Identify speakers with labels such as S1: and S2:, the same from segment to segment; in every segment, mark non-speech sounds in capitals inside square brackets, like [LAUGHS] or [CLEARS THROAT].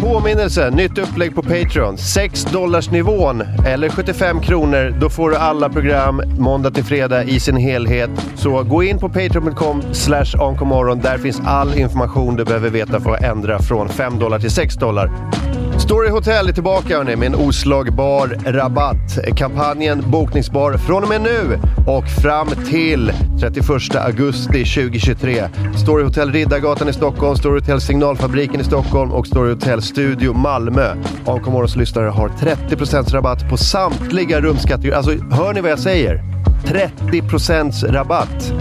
S1: Påminnelse, nytt upplägg på Patreon. 6 dollarsnivån eller 75 kronor. Då får du alla program måndag till fredag i sin helhet. Så gå in på patreon.com slash onkomorron. Där finns all information du behöver veta för att ändra från 5 dollar till 6 dollar. Story Hotel är tillbaka hörni, med en oslagbar rabatt. Kampanjen bokningsbar från och med nu och fram till 31 augusti 2023. Story Hotel Riddargatan i Stockholm, Story Hotel Signalfabriken i Stockholm och Story Hotel Studio Malmö. AMK Morgons lyssnare har 30% rabatt på samtliga rumskategorier. Alltså, hör ni vad jag säger? 30% rabatt.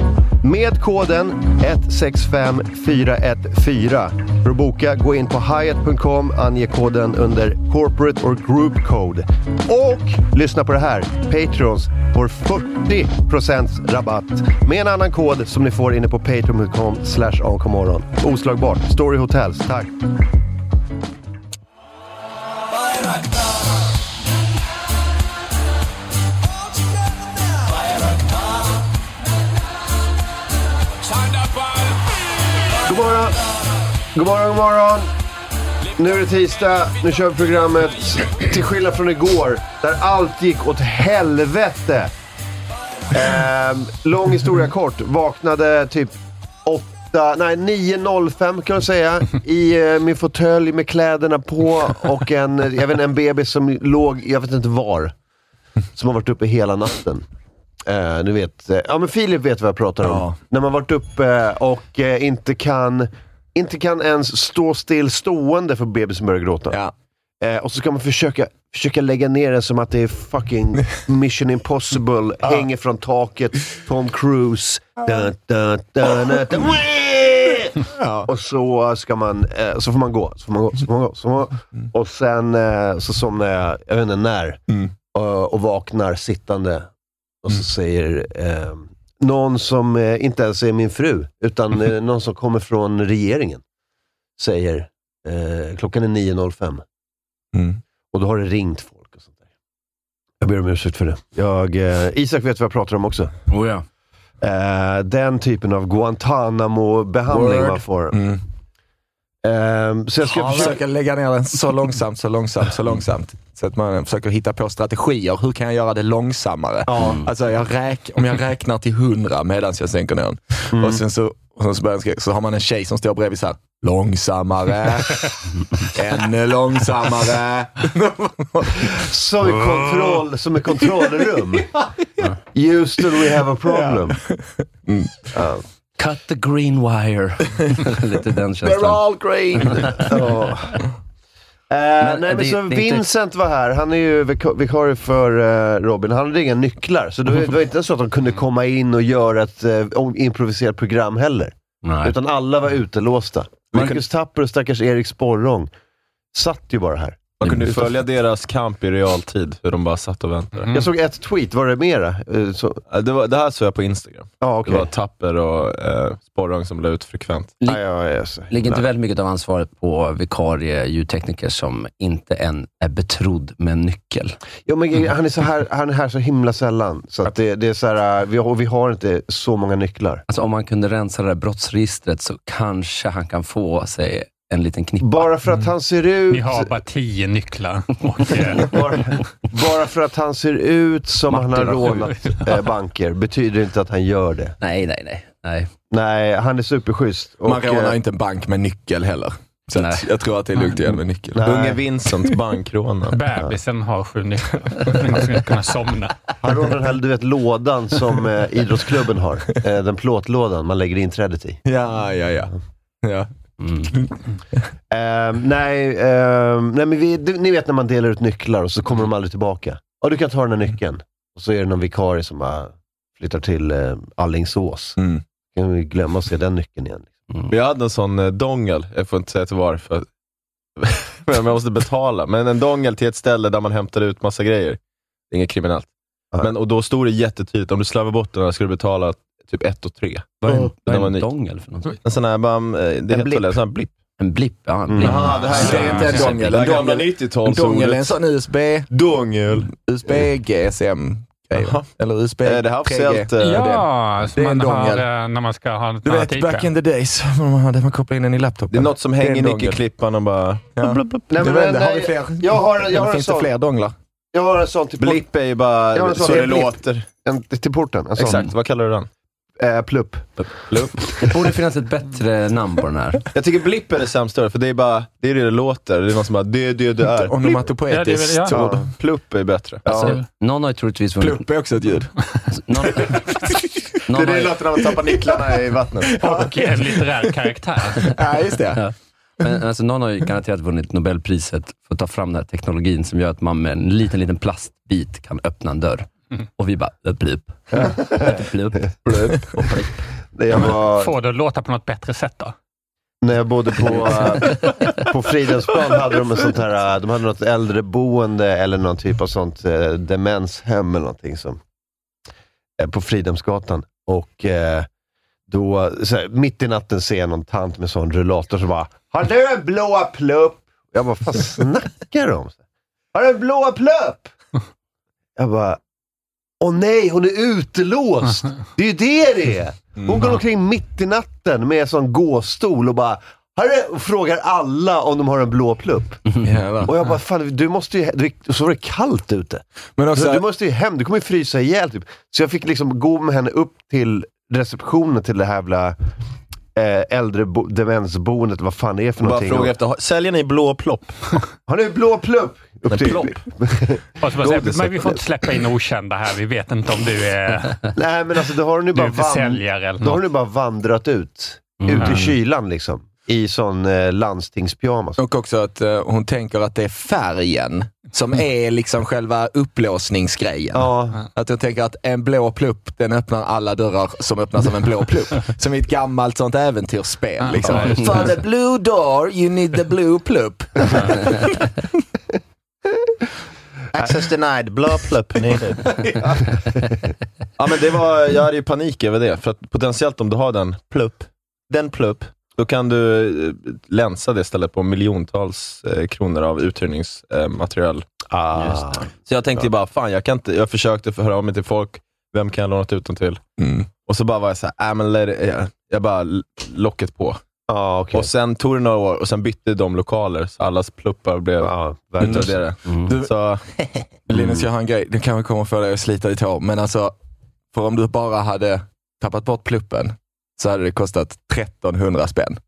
S1: Med koden 165414. För att boka, gå in på hyatt.com, ange koden under corporate or group code. Och lyssna på det här, Patrons får 40% rabatt med en annan kod som ni får inne på patreon.com slash onkomorron. Oslagbart, Story Hotels, tack. God morgon! God morgon, god morgon! Nu är det tisdag, nu kör vi programmet. Till skillnad från igår, där allt gick åt helvete. Ehm, lång historia kort. Vaknade typ 8, nej 9.05 kan jag säga. I eh, min fåtölj med kläderna på och en, jag vet, inte, en bebis som låg, jag vet inte var. Som har varit uppe hela natten. Eh, du vet, eh, ja men Filip vet vad jag pratar om.
S2: Ja.
S1: När man varit uppe och eh, inte kan, inte kan ens stå still stående för bebisen börjar gråta.
S2: Ja.
S1: Eh, och så ska man försöka, försöka lägga ner den som att det är
S2: [LAUGHS]
S1: fucking mission impossible, hänger från taket, Tom Cruise. Dun, dun, dun, dun,
S2: [LAUGHS]
S1: dun. Wee! Och så ska man, eh, så får man gå, så får man gå, så får man gå. Så får man
S2: Mm.
S1: gå. Och sen eh, så somnar jag, jag vet inte när, eh, och, och vaknar sittande. Och så säger eh, någon som eh, inte ens är min fru, utan eh, någon som kommer från regeringen, säger eh, klockan är 9.05.
S2: Mm.
S1: Och då har det ringt folk och sånt där. Jag ber om ursäkt för det. Jag, eh, Isak vet vad jag pratar om också.
S3: Oh ja.
S1: Eh, den typen av Guantanamo-behandling
S2: Word.
S1: man får.
S2: Mm.
S1: Eh, så jag ska försöka...
S2: Jag försöker lägga ner den så långsamt, så långsamt, så långsamt. Så att man försöker hitta på strategier. Hur kan jag göra det långsammare? Alltså jag räk, om jag räknar till hundra medan jag sänker ner den.
S1: Mm.
S2: Och sen så, och sen så, börjar jag skrika, så har man en tjej som står bredvid så här.
S1: [LAUGHS]
S2: Långsammare, ännu långsammare.
S1: Som i kontroll, som i kontrollrum. Houston, we have a problem.
S3: Cut the green wire. [LAUGHS] Lite den
S2: They're
S3: känslan.
S2: all green.
S1: [LAUGHS]
S3: [LAUGHS]
S1: Ja. Eh, nej, men
S3: det-
S1: så
S3: det är inte-
S1: Vincent var här, han är ju vik- vikarie för eh, Robin. Han hade inga nycklar, så det var, det var inte så att de kunde komma in och göra ett eh, om- improviserat program heller.
S3: Nej.
S1: Utan alla var utelåsta.
S3: Man
S1: Marcus Tapper och stackars Erik Sporrong satt ju bara här.
S4: Man kunde ju följa deras kamp i realtid, hur de bara satt och väntade.
S3: Mm.
S1: Jag såg ett tweet, var det mera? Eh, så,
S4: Eh, Det, var, det här såg jag på Instagram.
S1: ja, okej.
S4: Det var Tapper och eh, Sporrong som la ut frekvent.
S1: Ja, ja, ja, så-
S3: Ligger inte
S1: nej.
S3: väldigt mycket av ansvaret på vikarie ljudtekniker som inte än är betrodd med en nyckel.
S1: Jo, men grejen- han, är så här, han är här så himla sällan, så att det, det är så här, eh, vi, har, vi har inte så många nycklar.
S3: Alltså om man kunde rensa det där brottsregistret så kanske han kan få sig en liten knippa.
S1: Bara för att han ser ut...
S5: Ni har bara tio nycklar. Och, eh,
S1: Bara, bara för att han ser ut som
S3: Martin
S1: han
S3: har
S1: har
S3: sju.
S1: rånat eh, banker betyder inte att han gör det.
S3: Nej, nej, nej. nej.
S1: Nej, han är superschysst.
S2: Man
S1: Och, eh,
S2: rånar ju inte en bank med nyckel heller. Så att
S3: Nej.
S2: jag tror att det är lugnt igen med nyckel.
S1: Nej.
S4: Unge Vincent,
S5: [LAUGHS]
S4: bankrånaren.
S5: Bebisen har sju nycklar. Man ska kunna somna.
S1: eh, Han rånar den här du vet, lådan som eh, idrottsklubben har. Eh, den plåtlådan man lägger inträdet i.
S2: Ja, ja, ja. ja.
S3: Mm.
S1: Eh, nej, eh, nej men vi, du, ni vet när man delar ut nycklar och så kommer de aldrig tillbaka. Ja, du kan ta den här nyckeln. Och så är det någon vikarie som bara flyttar till eh, Alingsås.
S2: Mm.
S1: kan vi glömma att se den nyckeln igen.
S3: Mm.
S4: Jag hade en sån eh, dongel, jag får inte säga till varför. [LAUGHS] Men jag måste betala. Men en dongel till ett ställe där man hämtade ut massa grejer. Det är inget kriminellt.
S1: Nej.
S4: Men, och då stod det jättetydligt, om du slarvar bort den här ska du betala typ 1 och 3.
S3: Vad är en, vad
S4: Den var
S3: är en
S4: ny.
S3: dongel för något?
S4: En sån här, bam, eh, det
S1: blipp.
S4: heter väl en sån här blipp?
S3: En blipp? Ja, en
S1: Mm.
S3: blipp.
S4: Jaha, det här
S2: Säg inte en
S4: Ja,
S2: dongel.
S4: det här
S2: En
S4: gamla
S2: dongel- En
S4: 90-tals
S2: dongel är en
S4: ordet.
S2: sån USB,
S4: Dongel.
S2: USB GSM-grej. va?
S4: Jaha.
S2: Eller USB
S4: Eh, Det här
S2: 3G.
S4: officiellt... eh,
S5: Ja,
S2: det
S5: som
S2: är en
S5: man har
S2: dongel.
S5: eh, när man ska ha en
S2: Du vet, back in the days, [LAUGHS] när man hade man kopplade in den i laptopen.
S4: Det är något som
S2: Det är
S4: hänger i
S2: en dongel.
S4: Nicke-klippan och bara...
S2: Ja.
S1: Nej,
S2: Du
S1: men,
S2: vet,
S1: nej,
S2: har vi fler?
S1: Jag har, jag har en
S2: Finns det
S1: sån.
S2: fler donglar?
S1: Jag har en sån till, port,
S4: Blipp är ju bara
S1: Ja, en sån
S4: så
S1: är
S4: det
S1: blipp.
S4: låter.
S1: en, till porten. En sån.
S4: Exakt, vad kallar du den?
S1: Eh, plupp.
S3: Det borde finnas ett bättre namn på den här.
S4: Jag tycker blipp är det sämsta ordet, för det är bara det är det det låter. Det är någon som bara det, det, det är.
S2: Onomatopoetiskt.
S5: Ja, det är väl-
S2: ord.
S4: Ja. Plupp är bättre.
S3: Alltså, Någon har ju troligtvis vunnit... Alltså,
S2: Plupp är också
S5: [LAUGHS]
S2: ett ljud.
S3: Någon, någon har ju,
S4: när man tappar nycklarna i vattnet. [LAUGHS]
S5: Och en eh, litterär
S2: [LAUGHS]
S5: karaktär.
S2: Ja, just det.
S3: men, alltså, någon har ju garanterat vunnit Nobelpriset för att ta fram den här teknologin som gör att man med en liten, liten plastbit kan öppna en dörr. Och vi bara, eh, plupp. Eh, plupp. Och plupp.
S1: När jag, var,
S5: Får det att låta på något bättre sätt då?
S1: när jag bodde på, eh, på Fridhemsplan hade de en sånt här, eh, de hade något äldreboende eller någon typ av sånt eh, demenshem eller någonting som, eh, på Fridhemsgatan. Och eh, då, så här, mitt i natten ser jag någon tant med sån rullator som bara ”Har du en blå plupp?” Jag bara, vad snackar de om? ”Har du en blå plupp?” Jag bara, åh nej, hon är
S4: [LAUGHS]
S1: utelåst! Det är ju det det är! Hon
S4: Mm.
S1: går omkring mitt i natten med en sån gåstol och bara har du, och frågar alla om de har en blå
S4: [LAUGHS]
S1: plupp.
S2: Jävlar.
S1: Och jag bara, fan du måste ju, du, och så var det kallt ute.
S2: Men
S1: Så, du
S2: också,
S1: måste ju hem, du kommer ju frysa ihjäl typ. Så jag fick liksom gå med henne upp till receptionen till det här jävla eh, äldre bo, demensboendet, vad fan det är för
S4: Bara
S1: någonting.
S4: fråga efter, har- säljer ni blå plopp?
S1: Har du blå plupp? Upp till,
S4: plopp?
S5: Och så bara, säga,
S4: Godis
S5: men vi
S4: och
S5: får inte släppa in okända här. Vi vet inte om du är,
S1: Nej men alltså då har hon ju
S5: du
S1: bara,
S5: är
S1: van,
S5: försäljare eller
S1: då har hon
S5: något. Mm.
S1: ju bara vandrat ut. Ut i kylan liksom. I sån eh, landstingspyjamas.
S2: och också att eh, hon tänker att det är färgen som
S5: Mm.
S2: är liksom själva upplåsningsgrejen.
S1: Ja,
S2: Att jag tänker att en blå plupp, den öppnar alla dörrar som öppnas av en
S5: [LAUGHS]
S2: blå plupp. Som i ett gammalt sånt äventyrsspel. [LAUGHS] Liksom.
S5: Ja, just det.
S2: For
S4: Mm.
S2: the blue door, you need the blue plupp.
S4: [LAUGHS] Access denied, blå plopp. ja men det var,
S2: [LAUGHS]
S4: jag hade ju panik över det, för att potentiellt om du har den plupp, den plupp, då kan du eh, länsa det stället på miljontals eh, kronor av uthyrningsmaterial.
S1: Ah.
S4: Så jag tänkte ju bara, fan jag kan inte, jag försökte för höra av mig till folk, vem kan jag låna ut den till?
S2: Mm.
S4: Och så bara var jag såhär, äh, men let it, eh, jag bara l- locket på.
S1: Ja, okej.
S4: Och sen tog det några år och sen bytte de lokaler, så allas pluppar blev
S1: Ja, verkligen.
S4: utraderade.
S3: Mm.
S2: Du-
S4: Så,
S2: Linus, jag har en grej. Den kanske kommer få dig att slita ditt hår, men alltså, för om du bara hade tappat bort pluppen så hade det kostat 1300 spänn.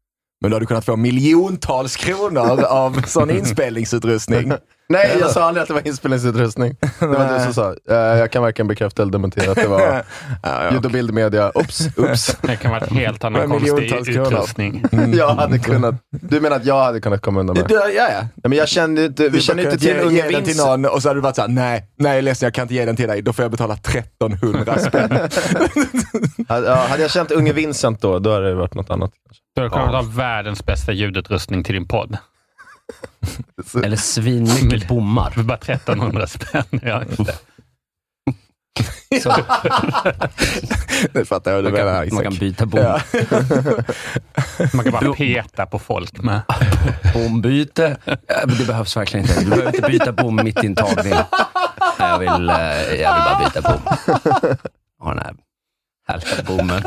S2: Men då hade du kunnat få miljontals kronor av sån inspelningsutrustning.
S4: nej, jag sa aldrig att det var inspelningsutrustning. Det var du som sa. Eh, jag kan varken bekräfta eller dementera att det [LAUGHS] var
S2: Ja, ja.
S4: ljud och bildmedia. Oops, oops.
S5: Det kan vara en helt
S2: Det
S5: annan
S2: var
S5: konstig
S2: miljontals kronor.
S5: utrustning.
S4: Jag hade kunnat, du menar att jag hade kunnat komma undan med
S2: Du,
S4: det?
S2: ja, ja.
S4: Nej, men jag kände ju inte, vi
S2: Du
S4: kände ju
S2: bara
S4: inte till
S2: kunnat ge,
S4: unge
S2: ge den till
S4: Vincent.
S2: någon och så hade du varit såhär, nej, nej jag är ledsen jag kan inte ge den till dig. Då får jag betala 1300 spänn.
S4: Hade- ja, Hade jag känt unge Vincent då, då hade det varit något annat.
S5: Du kommer ha världens bästa ljudutrustning till din podd.
S3: Eller svinmycket bommar.
S5: För bara 1300 spänn. Ja, just det.
S2: Nu fattar jag hur du
S3: Man
S2: menar
S3: kan, man
S2: Isak.
S3: kan byta bom.
S5: Man kan bara peta på folk med.
S3: Bombyte? Ja, men Det behövs verkligen inte. Du behöver inte byta bom mitt i en tagning. Nej, Jag vill, eh, jag vill bara byta bom. Ha den här härliga bommen.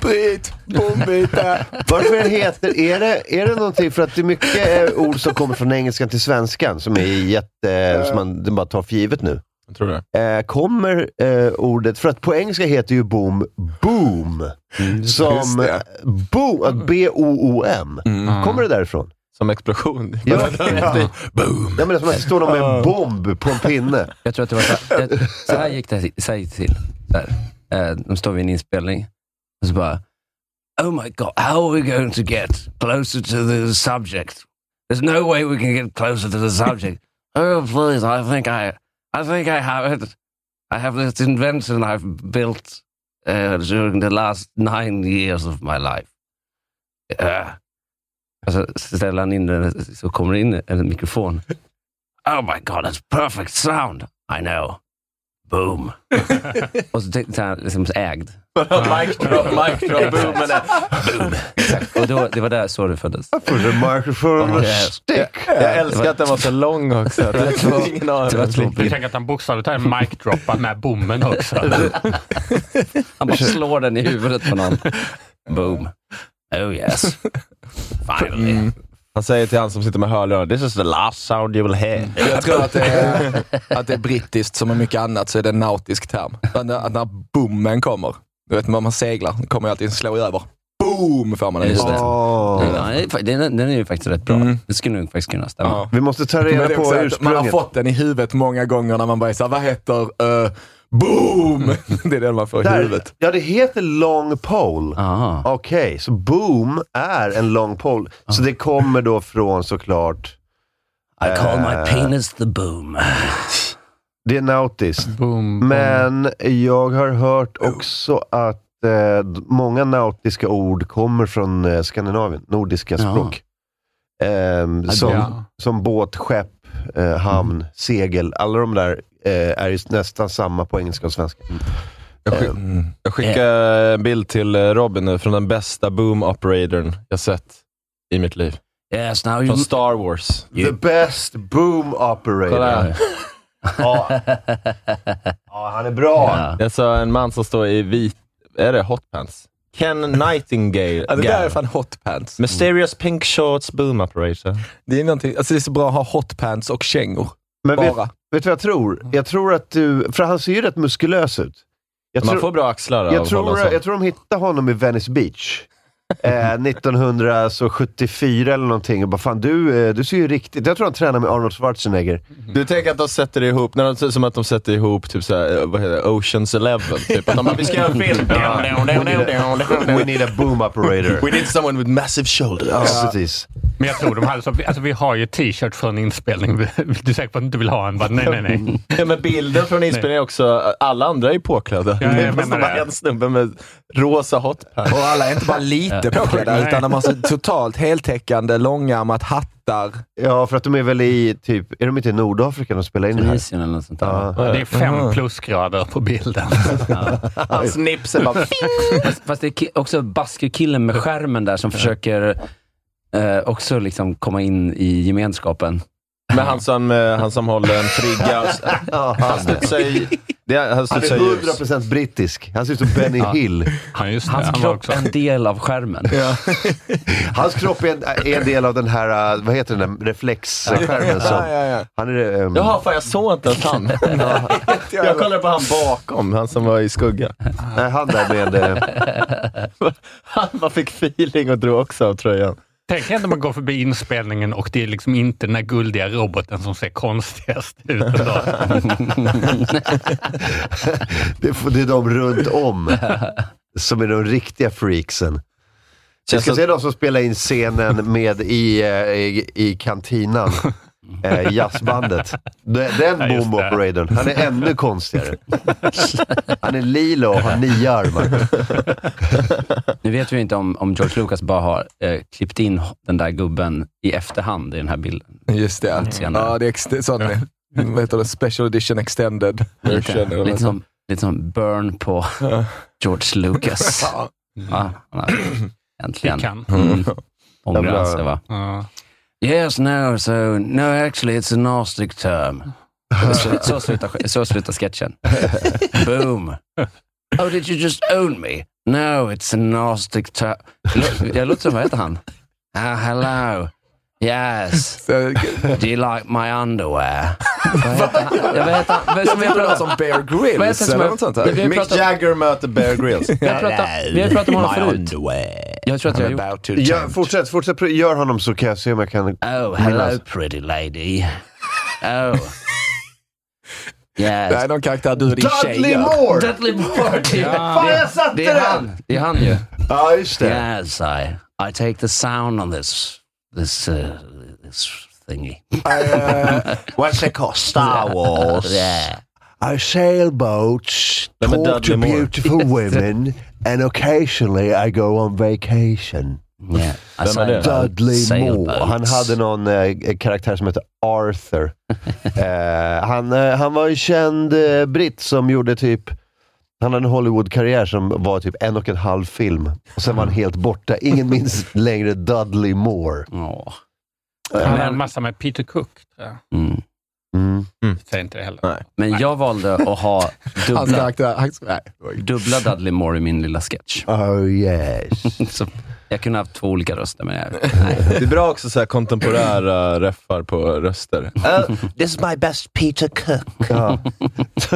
S2: Bryt, bombyte.
S1: Varför den heter, är det, är det någonting, för att det är mycket eh, ord som kommer från engelskan till svenskan som är jätte, som man det bara tar för givet nu.
S4: Jag tror det.
S1: Eh, kommer eh, ordet, för att på engelska heter ju boom, boom. eh, Som
S2: Just det.
S5: Mm.
S2: Mm.
S1: boom, att B-O-O-M. Kommer det därifrån?
S4: som [LAUGHS] explosion.
S1: Ja.
S4: Boom!
S1: Ja, men det är som att det står någon med en bomb på en
S2: [LAUGHS]
S1: pinne.
S3: Jag tror att det var så här, jag, så här gick det så här gick det till. Så här. Eh, De står vid en inspelning och så bara, Oh my god, how are we going to get closer to the subject? There's no way we can get closer to the subject. [LAUGHS] oh please, I think I, I think I have it. I have this invention I've built uh, during the last nine years of my life. Uh, alltså, ställer han in den så kommer det in en mikrofon. Oh my god, that's perfect sound. I know. Boom. [LAUGHS] och så tänkte han liksom ägd.
S4: mic drop, mic drop, boom. Men eh, det-
S3: Exakt. Och då, det var där så det föddes.
S1: Put a microphone on a stick.
S4: Jag älskar att den var så lång [LAUGHS] också. Det var
S3: Det
S4: ingen
S3: var två
S4: aning.
S5: Du
S3: bilder.
S5: tänker att han bokstavligt talat mic-droppar med bommen också.
S3: Han bara slår den i huvudet på någon. Boom. Oh yes. Finally.
S4: Han säger till han som sitter med hörlurar, this is the last sound you will hear.
S2: Jag tror att det, är, att det är brittiskt, som med mycket annat, så är det en nautisk term. Att när, att när boomen kommer, du vet när man seglar, då kommer ju alltid en slå över. Boom får man den
S3: Just det.
S2: ljudet.
S1: Åh.
S3: Ja, den är- den, den är ju faktiskt rätt bra. Det skulle nog faktiskt kunna stämma.
S2: Ja.
S1: Vi måste ta
S2: Men
S1: reda
S2: det är också
S1: på
S2: att Man har
S1: ursprunget.
S2: fått den i huvudet många gånger när man bara är såhär, vad heter eh, boom? [LAUGHS] Det är den man får i
S1: Där.
S2: huvudet.
S1: Ja, det heter long pole.
S3: Aha.
S1: Okej, så boom är en long pole. Så det kommer då från såklart,
S3: I call my penis the boom.
S1: det är nautiskt.
S5: Boom.
S2: Mm.
S1: Men jag har hört också att eh, d- många nautiska ord kommer från eh, Skandinavien, nordiska
S3: Ja.
S1: språk. Ehm, som,
S5: ja.
S1: som båt, skepp, eh, hamn, segel. Alla de där eh, är ju nästan samma på engelska och svenska.
S4: Jag, skick, jag skickar en bild till eh, Robin nu från den bästa boom operatorn jag sett i mitt liv.
S3: Yes, now
S4: Från
S3: you...
S4: Star Wars.
S1: The best boom operator.
S4: Kolla här. [LAUGHS]
S1: Ja. ja, han är bra.
S3: Ja.
S4: Jag sa en man som står i vit... Är det hotpants? Ken Nightingale.
S2: Ja, det där är fan hotpants.
S4: Mysterious pink shorts boom operator.
S2: Det är, någonting- alltså det är så bra att ha hotpants och kängor.
S1: Men vet,
S2: Bara.
S1: vet du vad jag tror? Jag tror att du... För han ser ju rätt muskulös ut. Jag
S4: Man
S1: tror,
S4: får bra axlar av
S1: jag,
S4: att hålla
S1: tror,
S4: en sån.
S1: jag tror de hittade honom i Venice Beach. Eh, 1974 eller någonting och bara fan du, eh, du ser ju riktigt... Jag tror han tränar med Arnold Schwarzenegger.
S4: Du tänker att de sätter ihop, när de, ser ut som att de sätter ihop typ såhär, eh, vad heter det, Oceans Eleven. Typ. Att de bara, vi ska göra en [LAUGHS] film.
S1: We need a boom
S4: [LAUGHS]
S1: operator.
S4: We need someone with massive shoulders.
S1: Ja, precis.
S5: Men jag tror de hade så, alltså vi har ju t-shirt från inspelning. [LAUGHS] Du är säker på att du inte vill ha en? Bara, nej, nej, nej.
S4: Ja, men bilden från inspelningen är också, alla andra är ju påklädda.
S5: Ja, jag
S4: det är bara
S5: menar det.
S4: en snubbe med rosa hotpants.
S2: Och alla är inte bara lite påklädda,
S5: Nej.
S2: utan de har så totalt heltäckande, långärmat hattar.
S1: Ja, för att de är väl i typ... Är de inte i Nordafrika de spelar in det här?
S3: Tunisien eller något sånt där.
S1: Ja.
S5: Det är fem plusgrader på bilden.
S4: Hans nips är bara...
S3: Fast, fast det är ki- också baskerkillen med skärmen där som försöker eh, också liksom komma in i gemenskapen.
S4: Men han som, eh, han som håller en frigga.
S2: [LAUGHS]
S4: Han studsar i... Det är, han
S1: Han
S4: studsar i ljus.
S1: är 100% brittisk. Han ser ut som Benny Hill.
S5: [LAUGHS] Ja, just det.
S3: Hans
S5: Han var
S3: kropp
S5: också-
S3: är en del av skärmen.
S1: Hans kropp är en, är en del av den här, eh, vad heter den där reflexskärmen som...
S2: Ja, ja, ja.
S1: Han är... ehm,
S4: Jaha, fan jag såg inte ens han. jag kollade på han bakom, han som var i skugga.
S1: nej, han där med... eh,
S4: [LAUGHS] Han bara fick feeling och drog också av tröjan.
S5: Tänk ändå man går förbi inspelningen och det är liksom inte den här guldiga roboten som ser konstigast [LAUGHS] ut. Ändå.
S1: Det, får- det är de runt om som är de riktiga freaksen. Vi
S4: Känns
S1: ska
S4: att-
S1: se de som spelar in scenen med i, eh, i, i kantinan. Eh, jazzbandet. De- Den
S5: Ja, just
S1: boom
S5: det.
S1: operatorn. Han är ännu konstigare. Han är lila och har nio armar.
S3: Nu vet vi ju inte om, om George Lucas bara har eh, klippt in den där gubben i efterhand i den här bilden.
S2: Just det.
S3: Senare.
S2: Ja, det är ex- sån, vad heter det, special edition extended Liksom. version.
S3: Lite,
S2: eller något
S3: lite,
S2: sånt.
S3: som, lite som Burn på George Lucas.
S5: [LAUGHS]
S2: Ja.
S3: Va? Han har äntligen
S5: Fickan.
S3: mm, ångrat sig. Va?
S5: Ja.
S3: Yes, no, so, no actually it's a Gnostic term. Så, så, slutar, så slutar sketchen. Boom. Oh, did you just own me? No, it's a Gnostic term. Lå- Jag låter som, vad heter han? Ah, hello. Yes.
S2: Så,
S3: Do you like my underwear? Vad heter han? Ja, vad heter han? Som
S2: Jag
S3: vi
S2: tänkte
S3: pratar-
S2: någon som Bear
S3: Vad
S2: Grylls
S3: heter det som
S2: eller
S3: är-
S2: något sånt
S3: Det-
S2: där.
S3: vi har
S4: Mick
S3: pratat-
S4: Jagger möter Bear Grylls.
S3: vi har pratat- vi har pratat om honom förut. Jag tror att jag har
S2: I'm
S3: gjort...
S2: about to
S1: Gör,
S2: change.
S1: fortsätt, fortsätt. pr- Gör honom så kan jag se om jag kan...
S3: Oh,
S1: hello,
S3: pretty lady. Oh.
S2: Det här
S3: Yes.
S2: är någon karaktär du och din tjej
S1: Dudley
S2: gör.
S1: Moore!
S3: Dudley Moore! Det är-
S1: Fan, jag satte [LAUGHS]
S3: Det är
S1: den!
S3: han. Det är han ju.
S1: Ja, just det.
S3: Yes, I, I take the sound on this, this, uh, this thingy.
S1: Eh,
S2: What's it called? Star Wars.
S3: Yeah.
S1: I sail boats,
S4: Vem är
S1: talk to
S4: Dudley Moore?
S3: [LAUGHS]
S1: beautiful women and occasionally I go on vacation.
S3: Yeah. I
S4: Vem är
S3: sail-
S4: det?
S1: Dudley Moore.
S3: sailboats.
S1: Han hade någon eh, karaktär som hette
S3: [LAUGHS]
S1: Arthur. eh, han, eh, han var ju känd eh, britt som gjorde typ han hade en Hollywood-karriär som var typ en och en halv film. Och sen var han helt
S3: [LAUGHS]
S1: borta. Ingen minns längre Dudley Moore.
S3: Åh.
S5: Han har
S3: Men-
S5: en massa med Peter Cook. tror jag.
S3: Mm.
S1: Mm.
S5: Säger inte det heller.
S3: Men jag valde att
S1: [LAUGHS]
S3: ha
S2: Hans
S3: dubbla,
S2: karaktär, han, nej.
S3: dubbla Dudley Moore i min lilla sketch. [LAUGHS]
S1: Oh yes.
S3: Så jag kunde haft två olika röster, men jag,
S4: Det är bra också så här kontemporära reffar på röster.
S2: This is my best Peter
S1: [LAUGHS]
S2: Cook.
S1: Ja. [LAUGHS]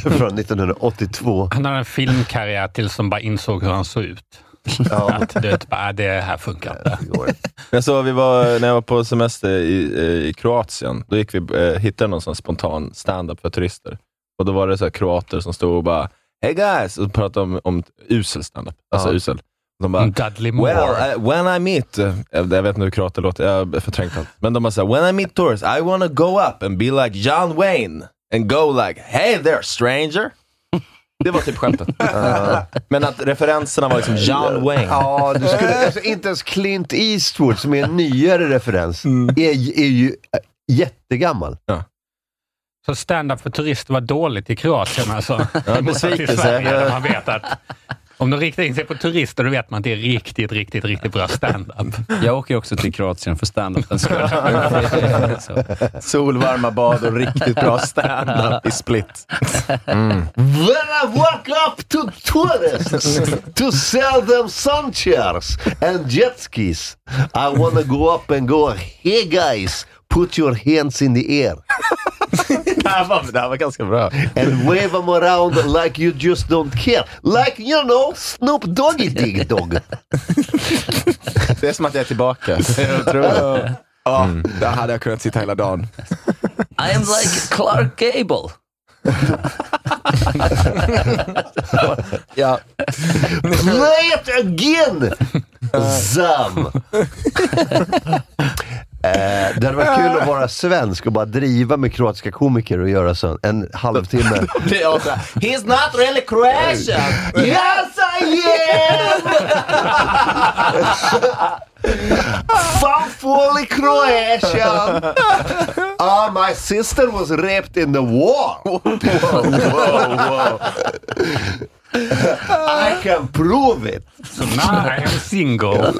S1: Från 1982.
S5: Han hade en filmkarriär tills de bara insåg hur han såg ut. Att du vet, bara, "Ah, det här funkar inte.
S4: Jag såg, vi var, när jag var på semester i, eh, i Kroatien, då gick vi, eh, hittade någon sån spontan stand-up för turister. Och då var det så här kroater som stod och bara ”Hey guys” och pratade om, om usel stand-up. Alltså
S1: Ja. Mm,
S4: usel. De bara
S5: Dudley Moore.
S4: Well, uh, when I meet, uh, jag vet inte hur kroater låter, jag har förträngt allt. Men de bara såhär, when I meet tourists, I wanna go up and be like John Wayne and go like, hey there stranger. Det var typ skämtet.
S1: [LAUGHS]
S4: Eh, Men att referenserna var liksom John Wayne.
S1: Ja, du skulle, alltså, inte ens Clint Eastwood, som är en nyare referens, är, är ju äh, jättegammal.
S5: Så stand-up för turister var dåligt i Kroatien alltså. Ja,
S4: besvikelse.
S5: Man vet att om de riktar in sig på turister, då vet man att det är riktigt, riktigt, riktigt bra stand-up.
S3: jag åker ju också till Kroatien för standupens [LAUGHS] skull. Så.
S4: Solvarma bad och riktigt bra stand-up i split.
S1: When I walk up to tourists to sell them sun chairs and jet skis, I wanna go up and go, hey guys, put your hands in the air
S4: Det här var, det här var ganska bra.
S1: and wave them around like you just don't care. Like, you know, Snoop Doggy Dig Dog.
S4: Det är som att jag
S2: [LAUGHS]
S4: är tillbaka.
S2: Ja,
S3: Mm.
S2: där hade jag kunnat sitta hela dagen.
S3: I am like Clark Gable.
S2: Ja.
S1: Play it again! Zam! Eh, det hade varit kul att vara svensk och bara driva med kroatiska komiker och göra så en halvtimme.
S4: Det är också, He's not really Croatian.
S1: yes I am! Fan fully Croatian! [LAUGHS] Ah, my sister was raped in the war! I can prove it!
S5: Så nej, I am single.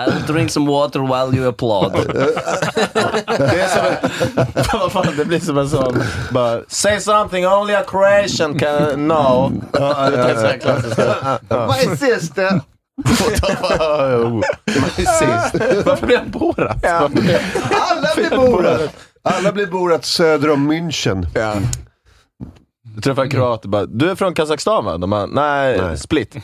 S3: I'll drink some water while you applaud.
S4: Det, är som en, [LAUGHS] vad fan, det blir som en sån, bara, say something only a Croatian can know.
S1: Uh-uh,
S4: Det är så här klassiskt.
S1: [LAUGHS] My [LAUGHS] sister!
S4: Precis. Varför blir han Borat? Varför blir-
S1: Alla blir Borat! Alla blir Borat söder om München.
S2: Ja.
S4: Du träffar en kroat och bara, du är från Kazakstan va? De bara, nej,
S1: Nej.
S4: split. Äh,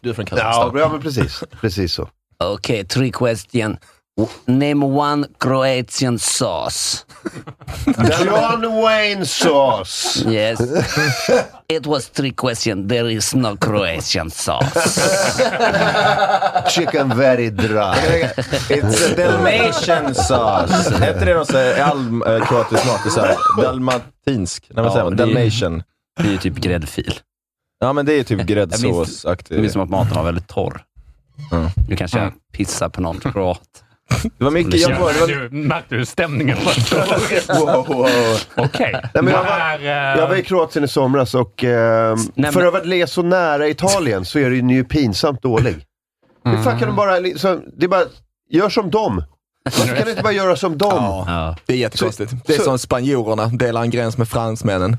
S4: Du är [LAUGHS] från
S1: Ja,
S4: Kazakstan.
S1: ja men precis. Precis så.
S3: Okay, three question. W- Name one Croatian sauce.
S1: John Wayne sås.
S3: Yes. It was three question. There is no Croatian sauce.
S1: Chicken very dry.
S4: It's a Dalmatian sauce. Hette det någon sån här, all eh, kroatisk mat? Det är så här, dalmatinsk? Nej, vad säger man?
S3: men det är ju-
S4: Dalmatian.
S3: [LAUGHS] Det är ju typ gräddfil.
S4: Ja, men det är typ
S3: Det är
S4: gräddsåsaktigt.
S3: som att maten var väldigt torr.
S4: Mm.
S3: Nu kanske jag pissar på någon kroat.
S4: Det var mycket, jag var, det var
S5: Du, märkte du stämningen?
S4: Wow, wow.
S5: Okej.
S1: men jag
S5: Det här, eh,
S1: Jag var i Kroatien i somras och eh,
S3: men-
S1: för att ligga så nära Italien så är den ju pinsamt dålig. Hur fan kan de bara... Liksom, det är bara, gör som dem. Varför kan du inte bara göra som dem? Ja.
S3: Ja.
S2: Det är jättekonstigt. Det är
S1: så-
S2: som spanjorerna delar en gräns med fransmännen.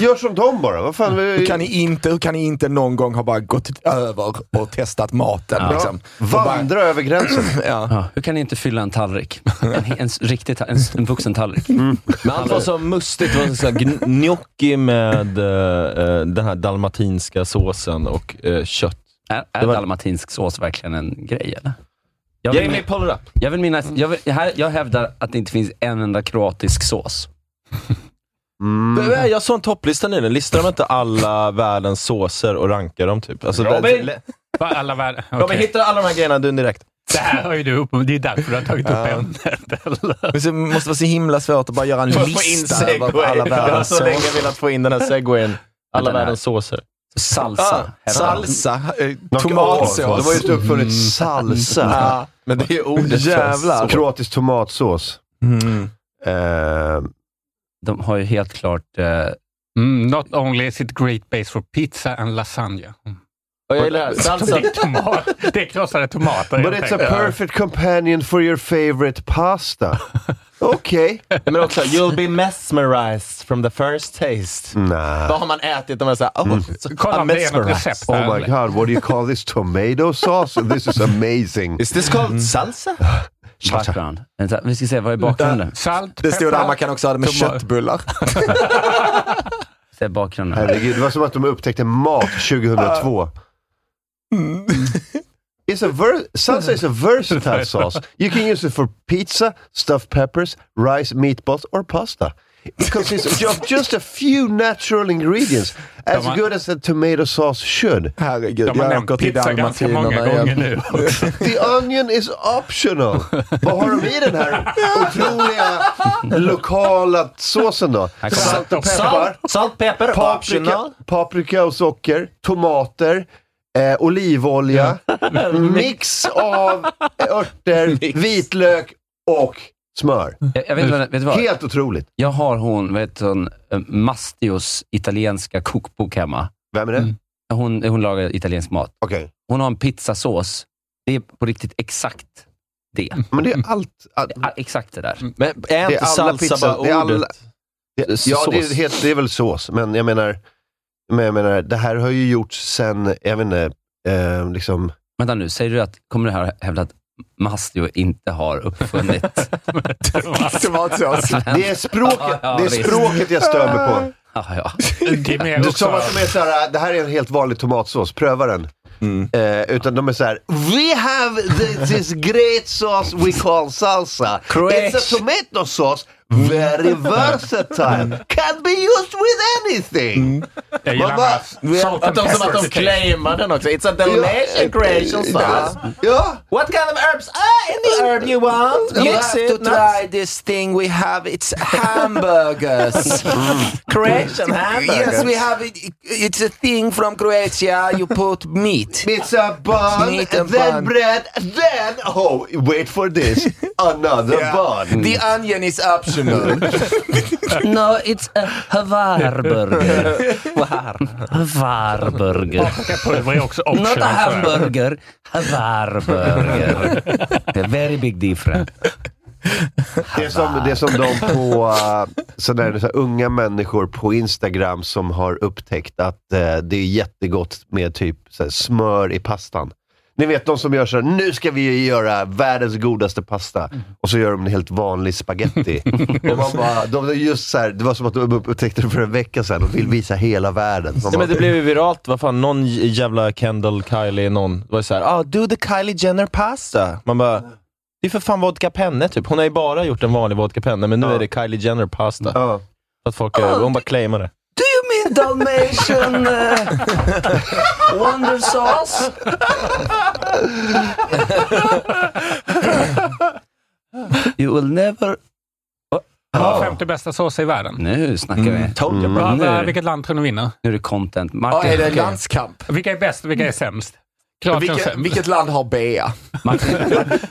S1: Gör som dem bara. Vad fan,
S2: Hur kan ni inte, hur kan ni inte någon gång ha bara gått över och testat maten?
S3: Ja.
S2: Liksom? Och bara,
S1: vandra över gränsen.
S2: ja.
S3: Ja. Hur kan ni inte fylla en tallrik? En, en, riktig ta- en, en vuxen tallrik.
S4: Men allt var så mustigt. Det var så här gn- gnocchi med eh, eh, den här dalmatinska såsen och eh, kött.
S3: Är, är
S4: Det var-
S3: dalmatinsk sås verkligen en grej, eller? Jag vill,
S4: Jamie, pull it up.
S3: jag vill minnas, jag, vill, här, jag hävdar att det inte finns en enda kroatisk sås.
S4: Mm. Jag såg en topplista nyligen. Listar de inte alla världens såser och rankar dem typ? Alltså, det-
S5: Robin!
S4: det-
S5: För alla värld...
S4: Robin, hittar alla de här grejerna
S2: [LAUGHS]
S4: du direkt?
S5: Det här har ju du upp Det är därför du har tagit upp ämnet. eller?
S2: Men så måste vara så himla svårt att bara göra en
S4: För att få in
S2: lista över
S4: segway.
S2: alla
S4: [LAUGHS] Jag har
S2: världens
S4: så länge
S2: såser.
S4: velat få in den här segwayen. Alla
S3: Den här.
S4: världens såser.
S2: Ah,
S3: Salsa. hävdar de.
S2: salsa, eh,
S1: Åh,
S2: tomatsås.
S1: De har just uppfunnit salsa.
S2: Ah,
S4: Men det är ordet
S2: Jävlar.
S4: för sås.
S1: Kroatisk tomatsås.
S2: mm.
S1: Eh,
S3: De har ju helt klart... Eh,
S5: Mm, not only is it great base for pizza and lasagna.
S3: [LAUGHS]
S5: Mm.
S4: Och
S2: [LAUGHS]
S4: jag gillar det här. Salsa.
S5: Det är, tomat, det är krossade tomater.
S1: but
S5: helt
S1: it's a
S5: enkelt.
S1: perfect companion for your favorite pasta. Okej.
S4: Men också, you'll be mesmerized from the first taste.
S1: Nah.
S4: Vad har man ätit? Och man är såhär, oh, so-
S5: Kolla
S4: I'm
S5: om det är något
S4: mesmerized.
S5: recept.
S1: Oh my god, what do you call this? Tomato sauce? This is amazing.
S4: Is this
S2: Mm.
S4: called salsa?
S3: background. Vänta, Vi ska se, vad är bakgrunden?
S5: Salt,
S2: Det stod där,
S5: peppar.
S2: man kan också ha det med
S5: Tomat.
S2: köttbullar.
S3: Se bakgrunden.
S1: Herregud, det var som att de upptäckte mat 2002. It's a ver- salsa is a versatile sauce. You can use it for pizza, stuffed peppers, rice, meatballs or pasta. It consists of just a few natural ingredients, as
S5: De har-
S1: good as a tomato sauce should.
S2: Herregud,
S5: De har
S2: jag åker
S5: nämnt
S2: till
S5: pizza ganska
S2: dalmatinerna
S5: många gånger
S2: igen.
S5: nu.
S1: The onion is optional. Vad har de i den här otroliga lokala såsen då? Salt och peppar.
S4: Salt, salt, pepper,
S1: paprika,
S4: optional.
S1: paprika och socker, tomater, eh, olivolja, mix av örter, vitlök och smör.
S3: Jag, jag vet inte vad, vet du vad?
S1: Helt otroligt.
S3: Jag har hon, vad heter hon, eh, Mastios italienska kokbok hemma.
S1: Vem är det?
S5: Mm.
S3: Hon, hon lagar italiensk mat.
S1: Okej.
S3: Hon har en pizzasås. Det är på riktigt exakt det.
S1: Men det är allt. all-
S3: Ja, Exakt det där.
S4: Men är
S1: Det
S4: inte
S1: är alla
S4: salsa
S1: pizza-
S4: bara
S1: det är alla-
S4: ordet?
S1: det, ja, det är,
S4: sås.
S1: helt, det är väl sås, men jag menar, men jag menar, det här har ju gjorts sen, jag vet inte, eh, liksom,
S3: Vänta nu, säger du att, kommer du här och hävda att Mastio inte har [LAUGHS] uppfunnit...
S2: [LAUGHS] Tomatsås.
S1: det är språket,
S3: Ja,
S1: det är
S3: visst.
S1: språket jag stör mig på.
S3: ja, ja.
S5: Det är mer
S1: Du som
S5: också...
S1: att de är såhär, det här är en helt vanlig tomatsås, pröva den. Eh, utan de är såhär, we have the, this great sauce we call salsa.
S3: Correct.
S1: It's a tomato sauce, very versatile, can be used with anything.
S5: Jag gillar
S1: Vad-
S5: hans salt
S4: Att
S5: and
S4: de, som att
S5: pepper
S4: de
S5: thing.
S4: claimar den också. It's a Dalmatian creation sauce.
S1: Ja,
S4: What kind of herbs? Ah, any herb you want. Mix it. Nice.
S2: this thing we have, it's [LAUGHS] hamburgers.
S4: Creation hamburger.
S2: have it, it's a thing from Croatia, you put meat.
S1: it's a bun,
S2: Meat and
S1: then
S2: bun.
S1: bread, then, oh, wait for this, another bun.
S2: The onion is [LAUGHS] optional.
S3: [LAUGHS] No, it's a Havarburger. Havarburger.
S5: Paprikapulver är också optional.
S3: Not a
S5: tror jag.
S3: hamburger, [LAUGHS] Havarburger. A very big difference.
S1: Det är som, det är som de på eh, sådana här, så här, unga människor på Instagram som har upptäckt att eh, det är jättegott med typ så här, smör i pastan. Ni vet de som gör så här, nu ska vi göra världens godaste pasta. Och så gör de en helt vanlig spaghetti. och man bara, de är just så här, det var som att de upptäckte det för en vecka sedan och vill visa hela världen. Man
S4: Nej, men det
S1: bara,
S4: blev ju viralt. Vad fan, någon j- jävla Kendall, Kylie, någon var ju såhär ah, “Do the Kylie Jenner pasta”. Man bara, det är för fan vodka penne typ. Hon har ju bara gjort en vanlig vodka penne, men nu
S1: Ja.
S4: är det Kylie Jenner pasta.
S1: ja.
S4: För att folk är, hon bara claimar det.
S3: Do you mean Dalmatian eh, Wonder Sauce? you will never...
S5: Ja, 50 bästa såser i världen.
S3: Nu snackar Mm. vi.
S4: Told you, bro.
S5: Vad- vad-
S3: Nu.
S5: Vilket land tror ni vinner?
S3: Nu är det content.
S2: Ja,
S3: Martin,
S2: är det
S3: okej.
S2: landskamp?
S5: Vilka är bäst och
S3: Mm.
S5: vilka är sämst? Klart den
S2: Vilket,
S5: sämst.
S2: vilket land har Bea?
S3: Martin,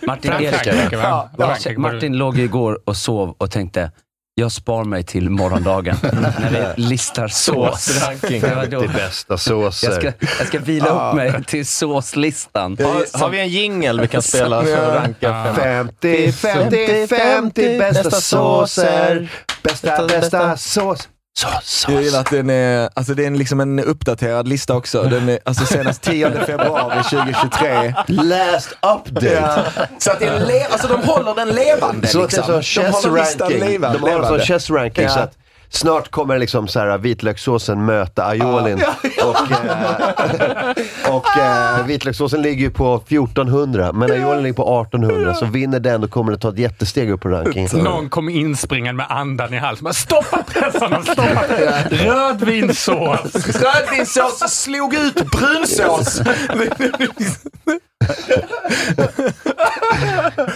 S3: Martin,
S5: Frankrike,
S3: Erkberg.
S5: va?
S2: Ja,
S5: Frankrike,
S3: Martin låg ju igår och sov och tänkte Jag spar mig till [LAUGHS] morgondagen när vi listar sås.
S2: Såsranking.
S3: Det Ah. var då.
S1: 50 bästa
S3: Jag
S1: såser.
S3: ska, jag ska vila upp mig till såslistan.
S4: Har, har vi en jingle vi kan spela för att ranka fem?
S1: 50, 50, 50 bästa
S4: Bästa
S1: såser.
S4: såser.
S1: Bästa,
S4: Bästa,
S1: bästa
S4: bästa.
S1: sås. Sås,
S2: Jag
S1: sås.
S2: gillar att den är, alltså det är en, liksom en uppdaterad lista också. Den är, alltså senast 10 februari 2023.
S1: Last update.
S2: Så att den le- alltså de håller den levande
S1: Så att det är
S2: liksom.
S1: sån chess
S2: de håller listan
S1: ranking.
S2: leva-
S1: De har en sån
S2: levande.
S1: chess ranking så att snart kommer liksom så här, vitlökssåsen möta aiolin. Och, eh, och
S2: Ah.
S1: eh, vitlökssåsen ligger ju på 1400 men aiolin ligger på 1800 så vinner den då kommer det ta ett jättesteg upp på rankingen.
S5: Någon kom inspringande med andan i halsen. Bara, Stoppa pressarna! Stoppa pressarna. Rödvinssås!
S2: Rödvinssås slog ut brunsås.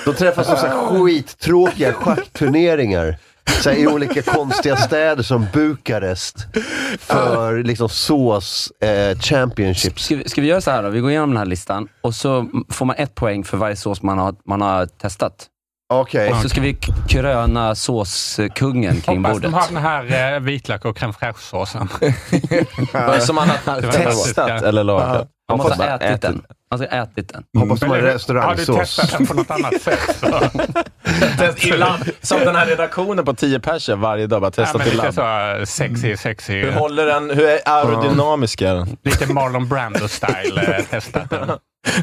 S1: De träffas på så här
S2: Ah.
S1: skittråkiga schackturneringar. Så här, I olika konstiga städer som Bukarest.
S2: Ah.
S1: För liksom sås eh, championships.
S3: Ska vi, ska vi göra så här då? Vi går igenom den här listan och så får man ett poäng för varje sås man har, man har testat.
S1: Okej.
S3: Och Eh, så ska vi k- kröna såskungen kring
S5: Hoppas
S3: bordet.
S5: de har den här eh, vitlök och crème fraîche-såsen.
S4: Vad är det som han har
S5: var
S4: testat
S5: bra.
S4: eller lagat?
S3: Man måste
S4: Hoppas
S3: ha
S4: man
S3: ätit
S4: ätit
S3: den.
S4: den.
S3: Man ska ha ätit den.
S2: Mm.
S1: Hoppas de har
S5: Har du
S1: restaurangsås.
S5: testat den på något annat sätt? Så.
S4: Test i labb. Som den här redaktionen på 10 personer varje dag. Bara
S5: Ja,
S4: testat
S5: men
S4: i Mm.
S5: lite
S4: labb.
S5: så eh, sexy, sexy. eh,
S4: Hur håller den? Hur är aerodynamisk är den?
S5: Lite Marlon Brando-style eh, testat den.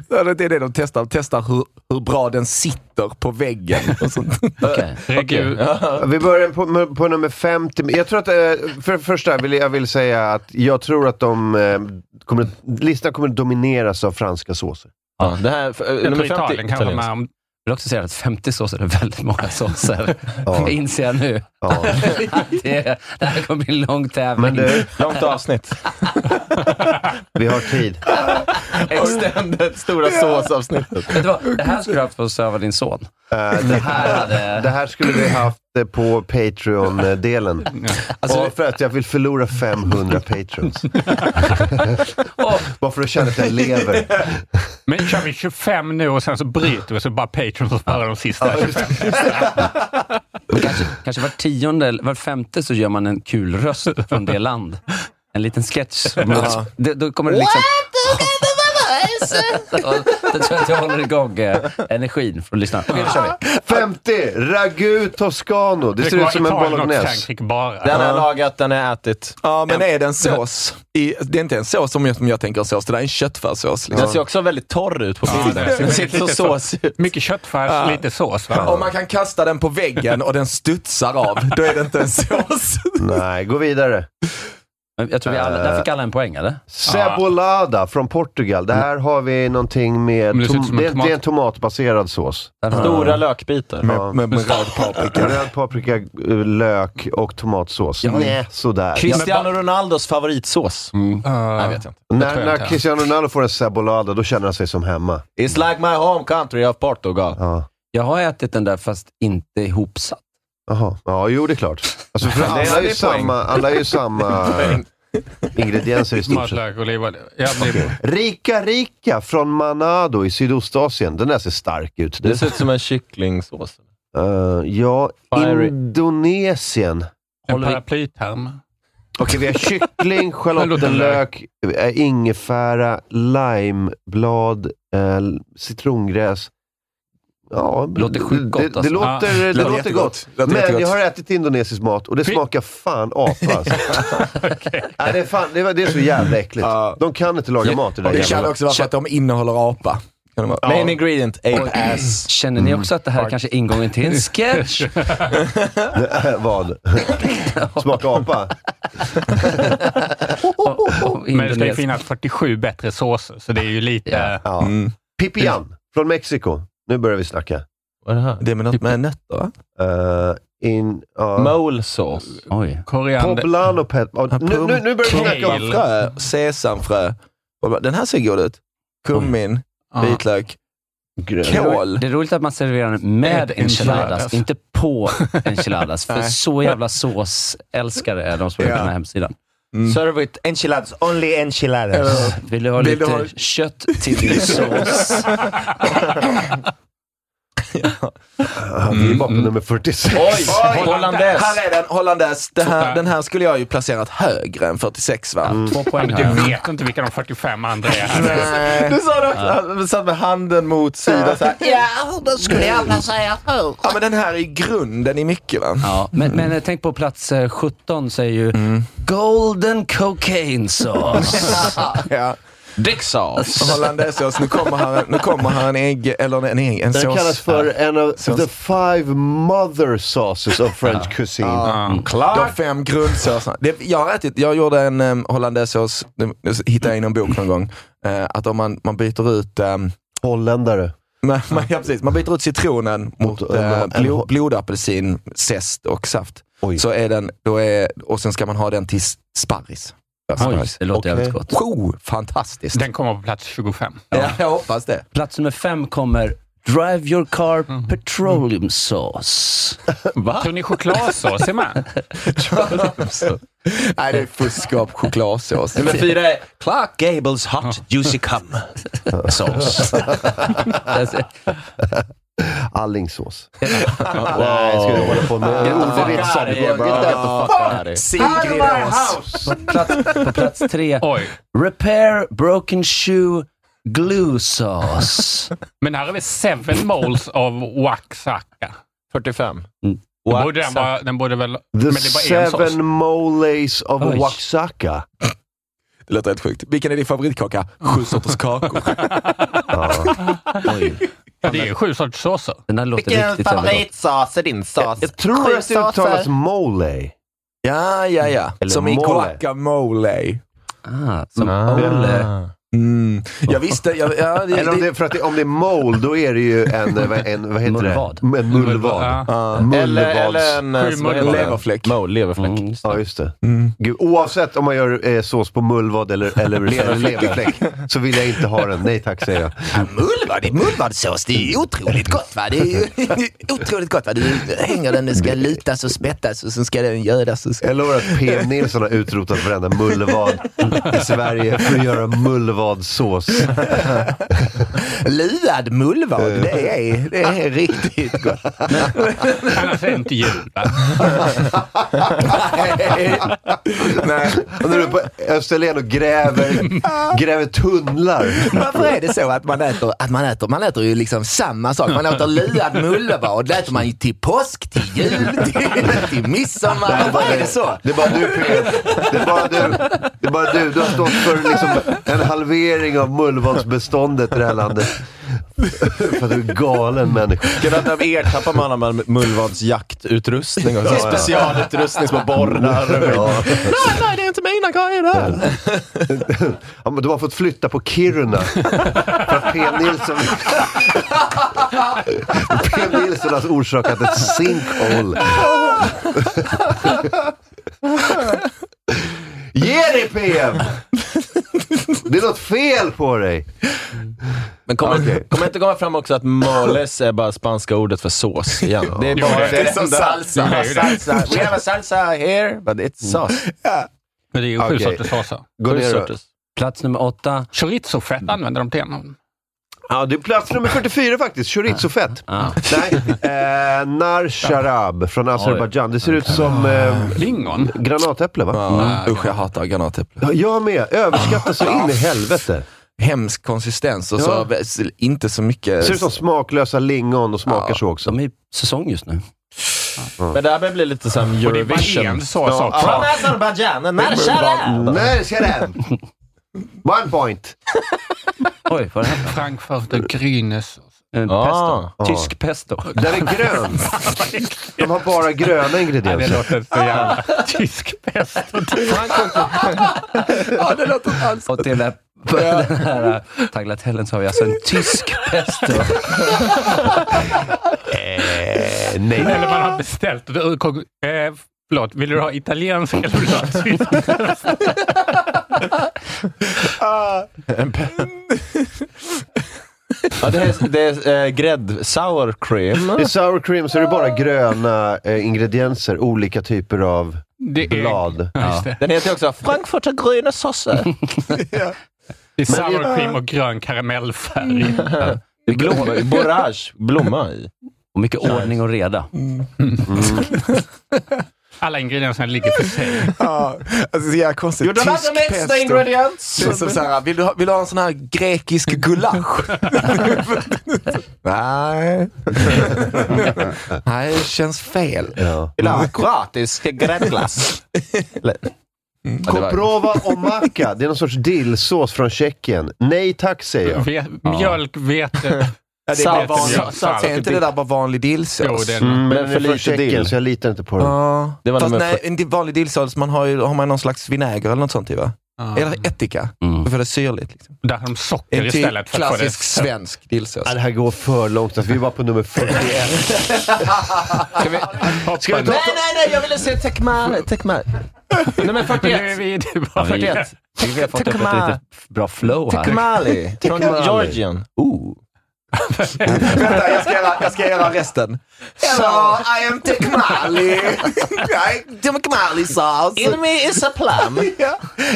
S2: Ja, Det är det de testar. De testar hur, hur bra den sitter på väggen. Och sånt.
S3: Okej.
S5: Herregud.
S1: Vi börjar på, på nummer 50. Jag tror att, eh, för det första vill jag vill säga att jag tror att de, eh, kommer, listan kommer domineras av franska såser.
S4: Ja, det här, för,
S5: Jag
S4: nummer
S5: tror
S4: 50,
S5: Italien kanske
S4: italiensk.
S5: med om
S3: Jag vill också säga att 50 såser är väldigt många såser.
S1: Ja.
S3: Det inser jag nu.
S1: Ja.
S3: Det, det här kommer bli en lång
S1: Men
S3: tävling.
S1: du,
S4: Långt avsnitt.
S1: vi har tid.
S4: Extended, stora såsavsnittet.
S3: Vet du vad? Det här skulle du haft för att söva din son.
S1: Eh,
S3: Det
S1: det,
S3: här hade...
S1: det här skulle vi haft eh, på Patreon-delen. och för att jag vill förlora 500 patrons.
S3: Åh,
S1: [LAUGHS] Bara för att känna att jag lever.
S5: Men kör vi 25 nu och sen så bryter vi så bara Patreon och sparar de sista 25.
S3: kanske, kanske var tionde, eller var femte så gör man en kul röst från det land. En liten sketch. alltså, Det, då kommer det liksom... [LAUGHS] Då tror jag att jag håller igång eh, energin från lyssnarna. Okej, då kör vi.
S1: 50! Ragu Toscano. Det ser ut som en
S5: och
S1: bolognese.
S5: Frankrike bara.
S4: Den har jag lagat, den har jag ätit.
S2: Ja, men är det en sås? I, det är inte en sås som jag, som jag tänker sås, det där är en köttfärssås.
S4: Den
S2: Liksom.
S4: ser också väldigt torr ut på bilden.
S5: det ser
S4: den ser inte så
S5: väldigt
S4: såsig ut.
S5: Mycket köttfärs, lite sås va?
S2: Om man kan kasta den på väggen och den studsar av, då är det inte en sås.
S1: Nej, gå vidare.
S3: Men Jag tror vi alla, där fick alla en poäng, eller?
S1: Cebolada från Portugal. Det här har vi någonting med...
S5: Men det ser ut
S1: Tom-
S5: som en
S1: det, det är en
S5: tomat.
S1: tomatbaserad sås.
S3: Där har-
S4: Stora lökbitar.
S1: Ja.
S2: Med, med röd paprika.
S1: Röd paprika, eh, lök och tomatsås.
S3: Ja.
S1: Nej, sådär.
S4: Cristiano Ronaldos favoritsås. Nej, vet jag inte.
S1: När, när Cristiano Ronaldo får en cebolada, då känner han sig som hemma.
S4: It's like my home country of Portugal.
S1: Ja.
S3: Jag har ätit den där, fast inte ihopsatt.
S1: Jaha. Ja, jo det är klart. Alltså, för
S4: Det är-
S1: alla, är
S4: det
S1: ju
S4: är poäng.
S1: samma, alla är ju
S4: [LAUGHS]
S1: samma ingredienser i stort sett.
S5: Matlök, olivolja. Jag blir...
S1: Rika Rika från Manado i Sydostasien. Den där ser stark ut. Det,
S4: Det ser ut som en kycklingsås.
S1: eh, ja,
S4: Fiery.
S1: Indonesien.
S5: En
S3: Håller vi-
S5: paraplyterm.
S1: Okej, vi har kyckling, schalottenlök, eh, ingefära, limeblad, eh, citrongräs. Ja,
S3: Låter sjukt gott,
S1: det, det,
S3: alltså.
S1: låter,
S5: Ja,
S1: det
S2: låter
S1: låter
S2: jättegott.
S1: gott.
S2: Låter
S1: Men
S2: jättegott.
S1: jag har ätit indonesisk mat och det
S5: Fy-
S1: smakar fan apa alltså. Nej, det, är fan, det, var- det är så jävla äckligt.
S2: Ja.
S1: De kan inte laga mat i det där
S2: Det kan
S1: jävla...
S2: också vara för att de innehåller apa. Kan det vara?
S4: Main ingredient, ape ass.
S3: Känner ni också att det här är kanske är ingången till en sketch?
S1: [LAUGHS] Vad? Smaka apa?
S5: Men det ska ju finnas 47 bättre såser, så det är ju lite...
S3: Ja.
S1: Ja. Pipian från Mexiko. Nu börjar vi snacka.
S4: Vad är det här?
S2: Det är med, något, med nötter va?
S1: Eh, in, ja.
S4: Mole sauce.
S3: Oj.
S5: Koriander.
S1: Poblano pet... ja, nu, nu, nu börjar vi snacka om...
S5: Kale.
S2: Frö, Äh, sesamfrö. Den här ser god ut. Kummin, vitlök, kål.
S3: Det är roligt att man serverar den med
S5: Med
S3: enchiladas,
S5: enchiladas.
S3: inte på enchiladas. För
S2: Nej.
S3: så jävla såsälskare är de som är på
S2: Ja.
S3: den här hemsidan.
S2: Mm.
S4: Serve with enchiladas. Only enchiladas.
S2: Eller-
S3: Vill du ha
S2: Vill
S3: lite
S2: du ha-
S3: kött till din sås?
S1: Vi var på nummer 46.
S2: Oj!
S5: Hollandaise.
S2: Här är den, hollandaise. Det här,
S5: Sådär.
S2: den här skulle jag ju placerat högre än 46 va?
S5: Två [LAUGHS] poäng men Du vet inte vilka de 45 andra är.
S4: Du sa det också. Han satt med handen mot sidan så här.
S2: Ja men den här är ju grunden i mycket va?
S3: Ja, men, men eh, tänk på plats eh, 17 säger ju “Golden cocaine sauce”.
S2: Ja.
S4: Dick
S3: [LAUGHS]
S4: sauce.
S2: Hollandaisesås, nu kommer här, nu kommer här en ägg, eller en ägg, en
S1: Den
S2: sås.
S1: kallas för en av
S2: Sås.
S1: the five mother sauces of French cuisine.
S2: De fem grundsåserna. Det, jag har ätit, jag gjorde en um, hollandaisesås, nu- nu hittade jag i någon bok någon gång, eh, att om man, man byter ut [LAUGHS] ehm,
S1: Holländare.
S2: man, man, ja, precis, man byter ut citronen mot
S1: Mot,
S2: eh,
S1: en-
S2: blod, blodapelsin, zest och saft.
S1: Oj.
S2: Så är den, då är, och sen ska man ha den till s- sparris.
S3: Oj, det låter
S1: Okej.
S3: jävligt gott.
S2: Wow, fantastiskt.
S5: Den kommer på plats 25.
S2: Ja, jag hoppas det. [LAUGHS]
S3: Plats nummer fem kommer “Drive your car petroleum sauce”.
S5: Va? Tror ni chokladsås är med?
S2: Nej, det är fusk och chokladsås.
S4: Nummer fyra är Clark Gables hot juicy cum sauce.
S1: Allingsås. Nej, ska du hålla på med? Ordvitsar. Det går- det är inte-
S2: Sigridås.
S3: På plats tre,
S5: Oj.
S3: “Repair broken shoe glue sauce”.
S5: Men här har vi seven moles av Oaxaca.
S4: 45.
S3: Mm.
S5: Den borde, den, vara, den borde väl...
S1: The
S5: men det är bara en sås.
S1: seven moles of
S3: Oj.
S1: Oaxaca.
S2: Det låter helt sjukt. Vilken är din favoritkaka? Sju sorters kakor.
S5: Det är ju sju sorters såser.
S3: Den här låter riktigt jävla gott.
S4: favoritsås är din sås?
S1: Jag tror att det uttalas mole.
S2: [LAUGHS] Ja, ja, ja.
S1: Eller
S2: Som i
S1: mole.
S2: guacamole.
S3: Ah, som
S2: Mm. Jag visste, jag, ja, det,
S1: Eller om det,
S2: det,
S1: är- för att det, om det är mole, då är det ju en, eh, vad- en vad heter
S3: Mullvad.
S1: det? En mullvad. Ah,
S5: Ja.
S2: Ah.
S4: Eller, eller
S1: Mullvads...
S4: en eh,
S5: Sju
S4: vad heter
S5: mullvar.
S4: det?
S2: Leverfläck.
S4: Mole, leverfläck.
S3: Mm, just det.
S1: Ja, just det.
S2: Mm.
S1: Gud, oavsett om man gör eh, sås på mullvad eller, eller leverfläck så vill jag inte ha den. Nej tack, säger jag.
S2: Mullvad, det är mullvadsås. Det är ju otroligt gott va. Det är ju [LAUGHS] otroligt gott va. Du hänger den, den ska lutas och spettas och sen ska den gödas. Och
S1: Jag lovar att PM Nilsson har utrotat varenda mullvad i Sverige för att göra mullvadsås.
S2: Luad mullvad, det är, det är riktigt gott.
S5: Annars är det inte jul. va?
S4: [LAUGHS]
S2: Nej.
S1: Och när du är på Österlen och gräver, gräver tunnlar.
S2: [LAUGHS] Varför är det så att man äter, att man äter, man äter ju liksom samma sak? Man äter luad mullvad, det äter man ju till påsk, till jul, [LAUGHS] till, till midsommar. Varför är det så?
S1: Det är bara du PM. Det är bara du. Det är bara du. Du har stått för liksom en halvering av mullvadsbeståndet i det här landet. För att du är galen människa.
S4: Gud, att av er tappar man alla med mullvads jaktutrustning och så.
S1: Ja, ja.
S4: Specialutrustning, små borrar.
S1: Ja.
S4: nej, nej, det är inte mina grejer där.
S1: Ja, men de har fått flytta på Kiruna. För att P. Nilsson... P. Nilsson har orsakat ett sinkhole. Ge dig PM! Det är något fel på dig.
S4: Men kommer kommer inte komma fram också att moles är bara spanska ordet för
S2: [LAUGHS]
S4: sås igen? Det är
S5: Jo,
S4: bara
S5: det är
S4: det
S2: som
S4: enda.
S2: salsa.
S4: Det är ju det. We have a salsa here, but
S5: Mm.
S4: it's sauce.
S5: Men det är ju sju
S1: Okej.
S5: sorters såser.
S1: Gå ner då.
S4: Sorters.
S3: Plats nummer åtta.
S5: Chorizofett använder de till. en.
S1: Ja, det är plats nummer 44 faktiskt. Chorizofett.
S3: Ah.
S1: Nej, eh, Nar Sharab från Azerbajdzjan. Det ser ut som eh,
S5: Lingon.
S1: granatäpple, va?
S2: Ja, Mm. usch, jag hatar typ. granatäpple.
S1: Ja, jag med. Överskattat så in i helvete.
S2: Hemsk konsistens och så inte så mycket...
S1: Ser ut som smaklösa lingon och smakar så också.
S3: De är i säsong just nu.
S4: Men det här börjar bli lite som
S5: Och det är bara en
S4: Eurovision.
S5: sås också.
S4: Azerbajdzjan,
S1: Nej, ser den! One point.
S3: Oj, vad är det här?
S5: Frankfurter Grünesås.
S3: En
S4: Ah.
S3: pesto. Tysk pesto.
S1: Den är grön. De har bara gröna
S5: Det
S1: ingredienser.
S5: låter så jävla
S3: [LAUGHS]
S5: tysk pest.
S2: Ja, det låter inte alls...
S3: Och till den här, [LAUGHS] den här äh, tagliatellen så har vi alltså en tysk pesto.
S1: Eh, nej.
S5: Eller man har beställt. ur kog- Eh, förlåt, vill du ha italiensk eller vill du ha [LAUGHS] tysk?
S4: Ja, det är, det är eh, grädd, sour cream.
S5: Mm.
S1: I sour cream så är det bara gröna eh, ingredienser. Olika typer av
S5: Det är,
S1: blad.
S5: Just det.
S4: Den heter ju också Frankfurter grüne Soße.
S5: Mm. det är sour cream och grön karamellfärg.
S4: Blomma, borage, blomma i.
S3: Och mycket ordning och reda.
S5: Alla ingredienserna ligger för sig.
S2: Ja, alltså så jävla konstigt. Tysk pesto.
S4: ingrediens?
S2: Så, så, så här, vill, du ha, vill du ha en sån här grekisk gulasch?
S4: [LAUGHS]
S2: Nej. Nej, det känns fel.
S1: Ja.
S4: Vill du ha kroatisk gräddglass?
S1: Koprova och macka. Det är någon sorts dillsås från Tjeckien. Nej tack, säger
S4: Mm,
S1: jag.
S5: Ve- mjölk, [LAUGHS] vete.
S2: Ja, det
S5: Salt och
S2: är bara
S5: mjöl.
S2: vanlig,
S5: Salt
S2: salt,
S5: och
S2: är inte det där bara vanlig dillsås?
S5: Jo, det är
S1: Mm, men
S4: Men
S1: den
S4: för
S1: är från
S4: lite
S1: Tjeckien,
S4: dill.
S1: så jag litar inte på den.
S2: Ja.
S4: Det var
S2: Fast
S4: nummer
S2: nej, en di- vanlig dillsås, man har, ju, har man någon slags vinäger eller något sånt i va? Eller ättika,
S3: Mm.
S2: för att det är syrligt. Liksom.
S5: Där har de socker
S2: En ty-
S5: istället. För att få Ah. det.
S2: klassisk svensk dillsås.
S4: Alltså,
S1: Ja, det här går för långt. Alltså, vi var på nummer 41.
S2: Ska vi,
S1: Ska vi ta...
S4: nej, nej, jag ville se Tekman. Tekman. Nummer
S5: Men nu är vi i det bara.
S3: Ja, vi, vi har fått upp ett
S4: Tekma.
S3: lite bra flow här.
S4: Tekmali.
S2: [LAUGHS]
S4: Från
S1: Tekmali.
S4: Georgien. Ooh.
S2: Vänta, jag ska göra, jag ska göra resten. Hello, I am Tekmali.
S4: [LAUGHS]
S2: I am Tekmali sauce.
S4: In me is a plum.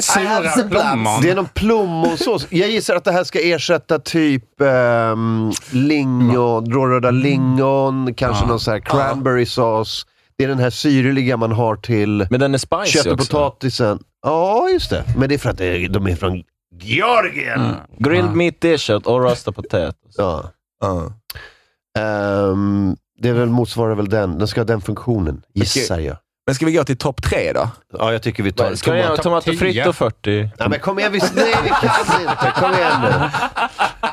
S5: Sura plommon.
S1: Det är någon plommonsås. Jag gissar att det här ska ersätta typ ehm, lingon, råröda
S4: Mm.
S1: lingon, kanske någon sån här cranberry sås. Det är den här syrliga man har till
S4: Men den är spicy
S1: kött och
S4: också.
S1: potatisen. Ja, just det. Men det är för att det är- de är från Georgien.
S4: Mm. Grilled
S2: Ah.
S4: meat dishet och rösta potatis.
S1: Ja. Ehm, det är väl, motsvarar väl den. Den ska ha den funktionen, gissar jag.
S2: Men ska vi gå till topp tre då?
S1: Ja, jag tycker vi tar
S4: Ska jag göra
S1: tomat.
S4: tomater fritt och 40?
S1: Nej, men kom igen. Vi, nej, vi kan inte. Kom igen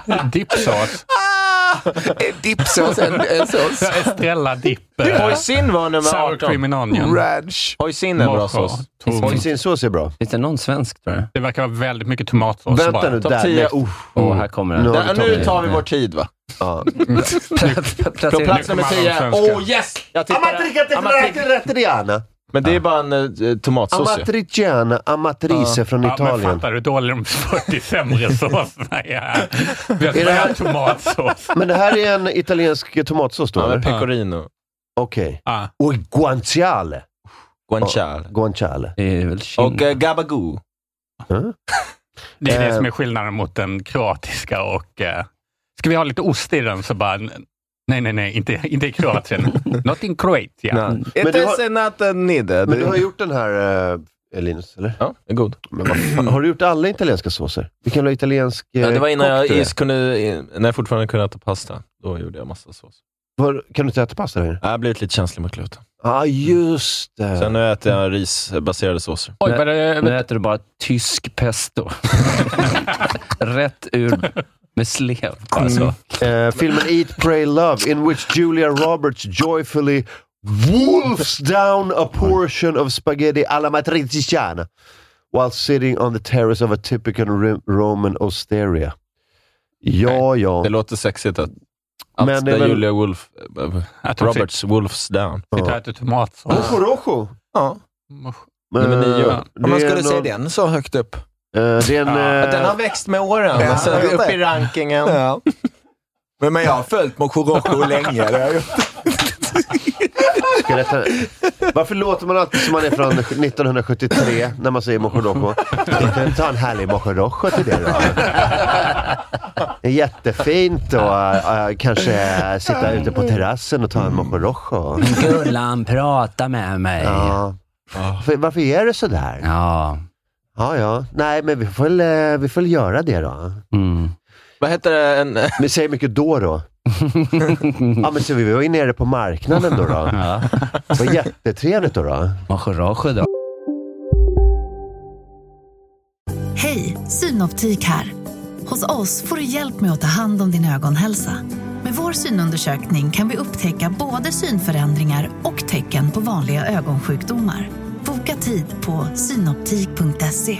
S1: nu.
S5: Dippsås.
S2: Ah, en dipsås, en, en
S5: [LAUGHS]
S2: sås.
S5: Ja, Estrella dipp. eh,
S4: Hoisin var nummer
S5: Sour cream and
S4: 18.
S5: onion.
S2: Ranch.
S4: Hoisin är en bra
S5: Mojo,
S4: sås.
S5: tom-
S1: Hoisinsås är bra.
S3: Finns det någon svensk tror jag?
S5: Det verkar vara väldigt mycket tomatsås.
S1: Vänta
S5: bara.
S1: nu.
S4: Topp
S1: Där.
S4: 10.
S1: Nej, oh,
S3: Åh, här kommer den. [LAUGHS]
S1: Nu har
S4: Där,
S1: vi
S4: nu
S1: topp-
S4: tar vi vår tid va?
S1: ja.
S4: Från
S3: Placera-
S4: plats
S5: kommer
S4: nummer
S5: alla
S4: 10.
S5: de svenska.
S4: Oh yes! Jag tippade. Amatri-
S1: Amatriciana.
S4: Men det är bara en eh, tomatsås ju.
S1: Amatriciana, amatrice från
S5: Ja, men
S1: Italien.
S5: fattar du hur dålig de [LAUGHS] 40 sämre såserna är? Vi har
S1: Är det här-
S5: bara tomatsås.
S1: Men det här är en italiensk tomatsås då,
S4: Ja, med
S1: eller?
S4: pecorino.
S1: Okej.
S5: Ja.
S1: Och guanciale.
S4: Guanciale.
S1: Guanciale.
S3: Det är väl Kina.
S4: Och eh, gabagoo.
S5: Det är
S1: Eh.
S5: det som är skillnaden mot den kroatiska och... eh, Ska vi ha lite ost i den så bara... Nej, nej, nej, inte, inte i
S1: [LAUGHS]
S5: Kroatien. Not in Croatia.
S1: Men
S4: It
S1: du har-
S4: is not a
S2: eh,
S4: needed.
S1: Men du har gjort den här, eh, Linus, eller?
S4: Ja, det är god.
S1: Men vad fan, har du gjort alla italienska såser? Vilken jävla italiensk eh,
S4: Ja, det var innan jag,
S1: kock du är?
S4: is kunde, in- när jag fortfarande kunde äta pasta. Då gjorde jag massa sås.
S1: Var, kan du inte äta pasta längre?
S4: Jag har blivit lite känslig mot gluten.
S1: Ja, ah, just det.
S4: Sen nu äter jag risbaserade såser.
S5: Oj, vad det...
S3: Nu äter du bara tysk pesto. [LAUGHS] Rätt ur med slev. alltså. Bara så.
S1: Eh, filmen Eat, Pray, Love, in which Julia Roberts joyfully wolfs down a portion of spaghetti alla matriciana while sitting on the terrace of a typical Ri- Roman osteria. Ja, ja.
S4: Det låter sexigt att, att
S1: Men det
S4: det
S1: är väl-
S4: Julia Wolf, eh,
S5: Att hon
S4: Roberts Wolfs down.
S5: sitter och äter tomatsås.
S1: rojo.
S2: Ja.
S4: Nummer nio.
S1: Eh, det
S2: Om man
S1: är
S2: skulle se
S1: någon-
S2: den så högt upp.
S1: eh, det är en...
S5: Ja,
S1: eh,
S4: Den har växt med åren,
S2: Ja,
S4: och sen
S2: jag vet
S4: upp
S2: det.
S4: i rankingen.
S2: Ja. Men, men jag har följt
S1: [LAUGHS]
S2: Mojo Rojo länge. Det har jag gjort.
S1: Ska jag rätta- Varför låter man alltid som man är från 1973 när man säger Mojodojo? Ta en härlig Mojodojo till det då. Det är jättefint och äh, kanske sitta ute på terrassen och ta en Mojodojo.
S3: Gullan, prata med mig.
S1: Ja. För- Varför är det sådär?
S3: Ja.
S1: Ja, ja. Nej, men vi får väl, eh, vi får väl göra det då.
S3: Mm.
S4: Vad heter det? En,
S1: Men säg mycket då då. Ja, men så vi var ju nere på marknaden då. då.
S3: ja.
S1: Det var jättetrevligt då. då.
S3: Mojo då.
S6: Hej, Synoptik här. Hos oss får du hjälp med att ta hand om din ögonhälsa. Med vår synundersökning kan vi upptäcka både synförändringar och tecken på vanliga ögonsjukdomar. Boka tid på synoptik.se.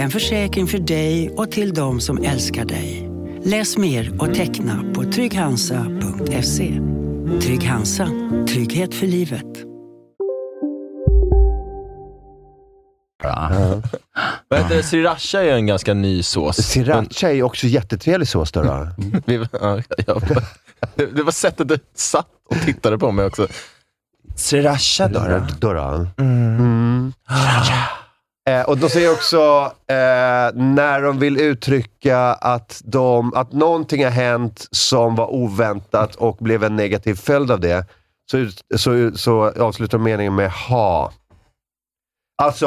S7: En försäkring för dig och till de som älskar dig. Läs mer och teckna på trygghansa.se. Trygg-Hansa. Trygghet för livet.
S4: Vad heter det? Sriracha är ju en ganska ny sås.
S1: Sriracha är ju också jättetrevlig sås då. då.
S4: Vi, ja, jag, det, det var sättet du satt och tittade på mig också. Sriracha då? då?
S1: Då, då. Mm. Eh, och de säger också, eh, när de vill uttrycka att, de, att någonting har hänt som var oväntat och blev en negativ följd av det, så, ut- så, så avslutar de meningen med ha. Alltså,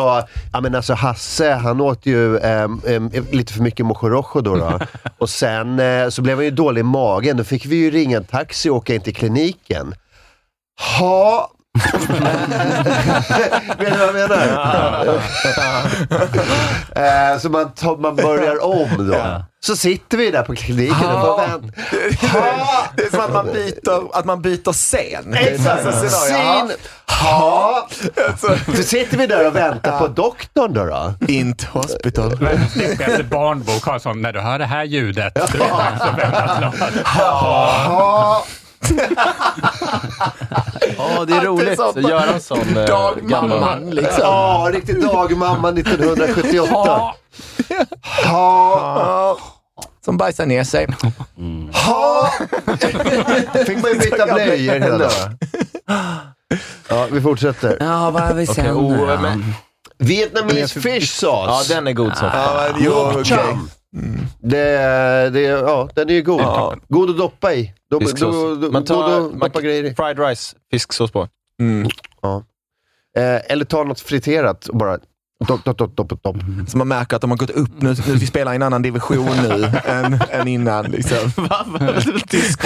S1: ja, men alltså Hasse, han åt ju ehm, ehm, lite för mycket mochorocho då. då. och sen eh, så blev han ju dålig i magen. Då fick vi ju ringa en taxi och åka in till kliniken. Ha! Vet du vad jag menar? [LAUGHS] Eh, så man, tar, man börjar om då. Så sitter vi där på kliniken och bara vänt. Ha!
S2: Det är som att man byter, att man byter scen.
S1: Exakt. Sin. Ha! Så sitter vi där och väntar på doktorn då. då.
S2: Int hospital.
S5: Snyggt efter barnbok har sån, när du hör det här
S1: [LAUGHS]
S5: ljudet. Du vet dags att vända klart.
S1: Ha!
S4: Ja, det är roligt att göra en sån eh, gammal...
S1: Liksom. Ja, riktig dagmamma 1978. Ha!
S2: Som bajsar ner sig.
S1: Ha! Fick man ju byta blöjor hela dagen. Ja, vi fortsätter.
S3: Ja, vad har vi sen?
S4: oh, men-
S1: Vietnamese fish
S4: Ja,
S1: sauce.
S4: den är god som fan.
S2: Ja, jo, okej.
S1: Chum.
S4: Mm.
S1: Det, det, ja, den är ju god. God att doppa i. Dop- do-
S4: Fisksås.
S1: do-
S4: Man
S1: god
S4: tar
S1: att
S4: man,
S1: doppa grejer i.
S4: fried rice, fisksås på.
S2: mm.
S1: Eh, eller ta något friterat och bara dopp, dopp, dopp, dopp, dopp.
S4: Mm.
S2: Så man märker att de har gått upp nu. nu vi spelar i en annan division nu än, än innan. [LAUGHS] Liksom. Tysk,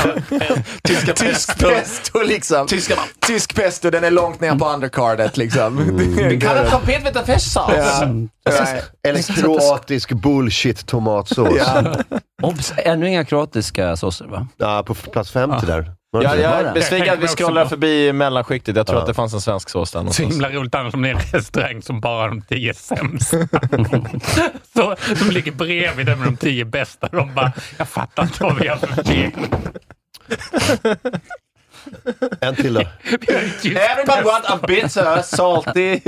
S2: tyska tysk pesto liksom. Tyska. Tysk pesto, den är långt ner på undercardet liksom. Det kan Mm. en trompet veta festsås.
S1: Eller kroatisk bullshit tomatsås.
S2: Ja.
S3: Obs, ännu inga kroatiska såser va?
S1: Ja, på f- plats 50 där. Var det
S4: Ja,
S1: inte det?
S4: jag är besviken att vi scrollar förbi mellanskiktet. Jag tror
S1: Ja.
S4: att det fanns en svensk sås där
S5: Så
S4: någonstans.
S5: himla roligt annars om det är en restaurang som bara har de tio sämsta. så, som ligger bredvid den med de tio bästa. De bara, jag fattar inte vad vi har för fel.
S1: En till då.
S5: Vi har ju tyst-
S4: Everybody want a bitter, salty...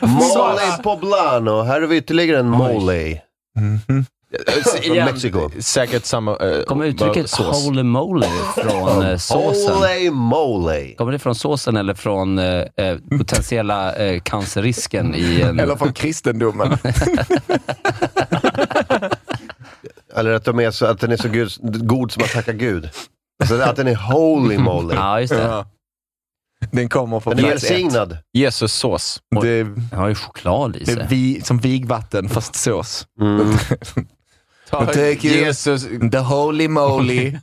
S1: Mole poblano. Här har vi ytterligare en mole.
S4: Eh, Igen,
S1: Mexiko.
S4: Säkert samma... eh,
S3: Kommer uttrycket
S4: sås.
S3: holy moly från eh, såsen?
S1: Ole mole.
S3: Kommer det från såsen eller från eh, eh, potentiella eh, cancerrisken i eh, en...
S2: Eller från kristendomen.
S1: Eller att, de är så, att den är så gud, god som att tacka gud. Alltså att den är holy moly.
S3: Ja, just det.
S2: [LAUGHS] Ja. Den kommer från
S1: Den är
S2: plats ett.
S1: välsignad.
S4: Jesussås.
S2: Det är,
S3: Den har ju choklad i
S2: det är
S3: sig.
S2: vi, som vigvatten, fast sås.
S1: Mm.
S2: Thank you.
S4: Jesus.
S2: The holy
S4: [LAUGHS]
S2: moly.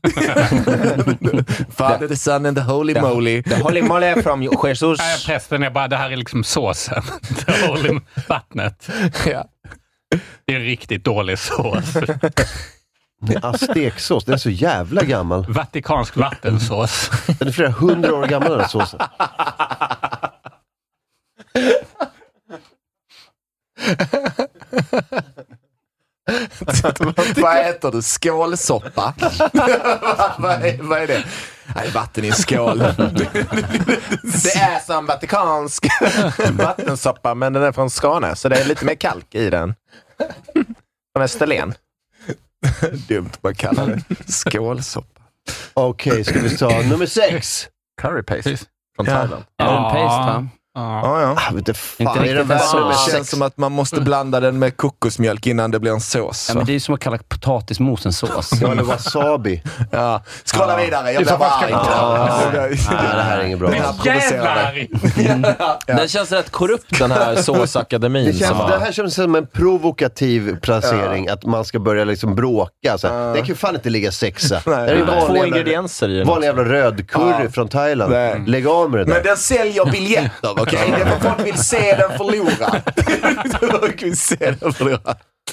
S2: Father, the son and the holy moly.
S4: Holy moly from Jesus.
S5: Nej, prästen är bara, det här är liksom såsen. Det håller vattnet.
S2: Ja.
S5: Det är en riktigt dålig sås.
S1: Azteksås, den är så jävla gammal.
S5: Vatikansk vattensås.
S1: Den är flera hundra år gammal den här såsen.
S2: vad äter du? Skålsoppa? [LAUGHS] vad, är, vad är det? Nej, vatten i en skål.
S4: Det är som [LAUGHS] vatikansk vattensoppa, men den är från Skåne, så det är lite mer kalk i den. Från Österlen. [LAUGHS]
S2: Dumt man kallar det. Skålsoppa.
S1: Okej, ska vi ta nummer sex.
S4: Curry paste.
S2: Ja.
S4: Från Thailand.
S3: Är det en paste va?
S5: Ja.
S2: Ja, ja.
S1: Ah, vet du,
S3: Inte
S1: fan, är
S3: riktigt
S1: det
S3: en
S1: värt
S3: sås.
S1: nummer
S3: Ah,
S2: Det
S1: sex?
S2: känns som att man måste blanda den med kokosmjölk innan det blir en sås.
S3: Ja,
S2: va?
S3: men det är ju som att kalla potatismos en
S2: [LAUGHS]
S3: sås.
S1: Ja, eller wasabi.
S2: Ja. Skrolla vidare, jag
S1: Du
S2: blir
S1: får
S2: bara
S1: fucka
S2: arg.
S1: inte.
S2: Ja, ja.
S1: Nej, det här är inget bra.
S2: Men-
S1: alls.
S2: provocerar
S5: Jävlar!
S4: Den känns rätt korrupt den här såsakademin.
S1: Det, känns,
S4: som var-
S1: det här känns som en provokativ placering, att man ska börja liksom bråka. Så här. Det kan ju fan inte ligga sexa. Det är ju
S4: Det är
S1: vanlig
S4: två
S1: jävla-
S4: ingredienser i den.
S1: Vanlig jävla röd curry från Thailand.
S2: Nej.
S1: Lägg av med det där.
S2: Men den säljer biljetter, okej? Det är vad folk vill se den
S4: [LAUGHS]
S2: förlora. folk vill se den förlora.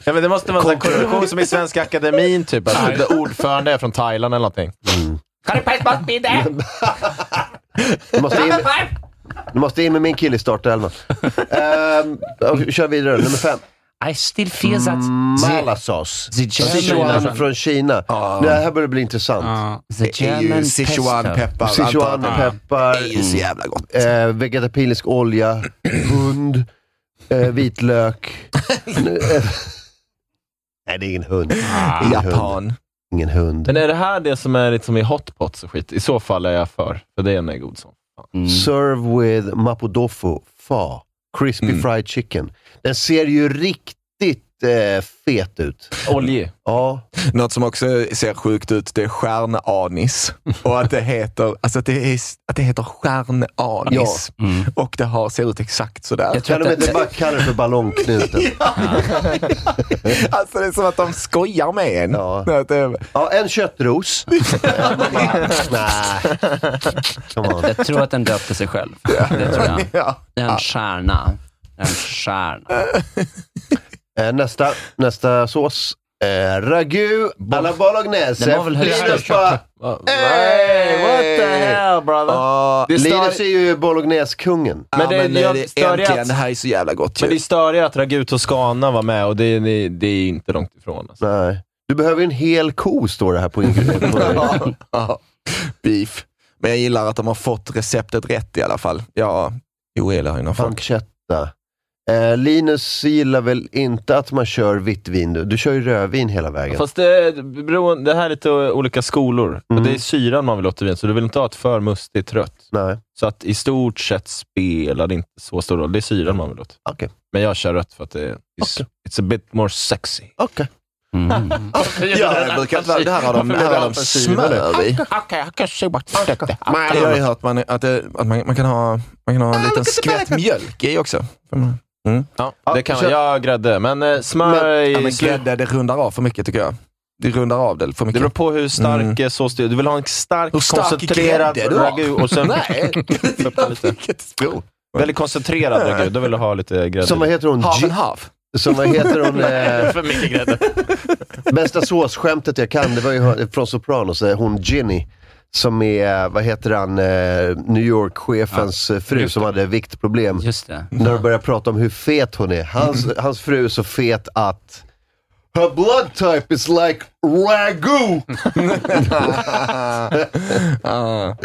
S4: Ja, men det måste vara en sån här Alltså, korruption som i Svenska Akademin, typ. Att det ordförande är från Thailand eller någonting.
S1: Du måste in, du måste in med min kille i
S2: [LAUGHS]
S1: startelvan. Ehm, och kör vidare, nummer fem.
S3: I still feel that
S2: Mm.
S1: Malasås.
S3: the
S1: Sichuan från Kina.
S3: Ah.
S1: Det här börjar bli intressant.
S5: Ja.
S3: the
S2: Det är ju Sichuan-peppar.
S1: Sichuanpeppar,
S2: Det är ju så jävla gott.
S1: eh,
S3: [CLEARS THROAT]
S1: vegetabilisk olja, hund,
S3: [LAUGHS]
S1: eh, vitlök. Nu, eh, Nej, det är ingen hund.
S3: Ah.
S1: Ingen hund.
S2: Japan.
S1: Ingen hund.
S4: Men är det här det som är liksom i hotpots och skit? I så fall är jag för, för den är god som.
S3: Mm.
S1: Serve with mapodofu, pho, crispy
S2: Mm.
S1: fried chicken. Den ser ju riktigt eh, fet ut.
S4: Oljig.
S1: Ja,
S2: Något som också ser sjukt ut, det är
S4: [LAUGHS]
S2: stjärnanis. Och att det heter, alltså att det är, att det heter stjärnanis.
S4: Mm.
S2: Och det har, ser ut exakt sådär.
S3: Jag tror
S1: kan
S3: att
S1: de inte
S3: det,
S1: bara kalla det
S3: [LAUGHS]
S1: för ballongknuten?
S2: Alltså det är som att de skojar med en.
S1: Ja.
S2: Att det-
S4: [LAUGHS]
S1: Ja, en köttros. Nej, come on.
S3: jag tror att den döpte sig själv. Det tror
S2: [LAUGHS]
S3: jag.
S2: Ja.
S3: Det är En stjärna. En stjärna.
S1: Eh, Nästa, nästa sås. Eh, ragu à la bolognese.
S3: Den var väl högst
S1: Linus
S3: upp.
S1: bara,
S4: Va-
S1: Hey!
S4: Hey, what the hell brother?
S2: Ja.
S4: Det är stör-
S1: Linus är ju bolognese-kungen.
S2: Men
S4: det-
S2: det, men eh,
S4: jag
S2: det,
S4: stör
S2: äntligen,
S4: att-
S2: det här är så jävla gott
S4: Men det är
S2: ju.
S4: störigt att Ragu Toscana var med och det, det, det är inte långt ifrån. Alltså.
S1: Nej. Du behöver ju en hel ko, står det här
S3: [LAUGHS]
S1: på ingredienserna.
S2: Ja, ja. Beef. Men jag gillar att de har fått receptet rätt i alla fall. Jag ogillar ju när folk...
S1: Pancetta. Eh, Linus gillar väl inte att man kör vitt vin? Du, du kör ju rödvin hela vägen.
S4: Fast det, beroende, det här är lite olika skolor.
S1: Mm.
S4: Och det är syran man vill åt i vin, så du vill inte ha ett för mustigt rött.
S1: Nej.
S4: Så att i stort sett spelar det inte så stor roll. Det är syran man vill åt.
S1: Okej.
S4: Men jag kör rött för att det it's, it's a bit more sexy.
S1: Okej.
S3: Mm.
S2: Ja, det brukar inte vara... Det här har de, här har de smör i. Jag har ju hört man, att, det, att man, man kan ha, man kan ha en liten skvätt mjölk i också. Mm.
S4: det kan
S1: kör-
S4: jag ha grädde, men eh, smör
S1: Men-
S4: i
S2: Ja, men
S4: slut.
S2: grädde, det rundar av för mycket tycker jag. Det rundar av det för
S4: Det
S2: mycket.
S4: beror på hur stark
S2: Mm.
S4: mm. sås du Du vill ha en stark,
S2: Hur stark
S4: koncentrerad
S2: grädde du har.
S4: ragu och sen... [LAUGHS]
S2: Nej.
S4: Öppna lite.
S2: Jo.
S4: Väldigt koncentrerad ragu, då vill du ha lite grädde.
S1: Som vad heter hon?
S2: Half
S1: Gi-
S2: and half.
S1: Som vad heter hon? Eh,
S4: för mycket grädde.
S1: [LAUGHS] Bästa såsskämtet jag kan, det var ju från Sopranos, eh, hon Ginny. Som är, vad heter han, eh, New York-chefens eh, fru som hade viktproblem.
S3: Just det.
S1: När de börjar prata om hur fet hon är. Hans, hans fru är så fet att Her blood type is like ragu.
S2: Ah.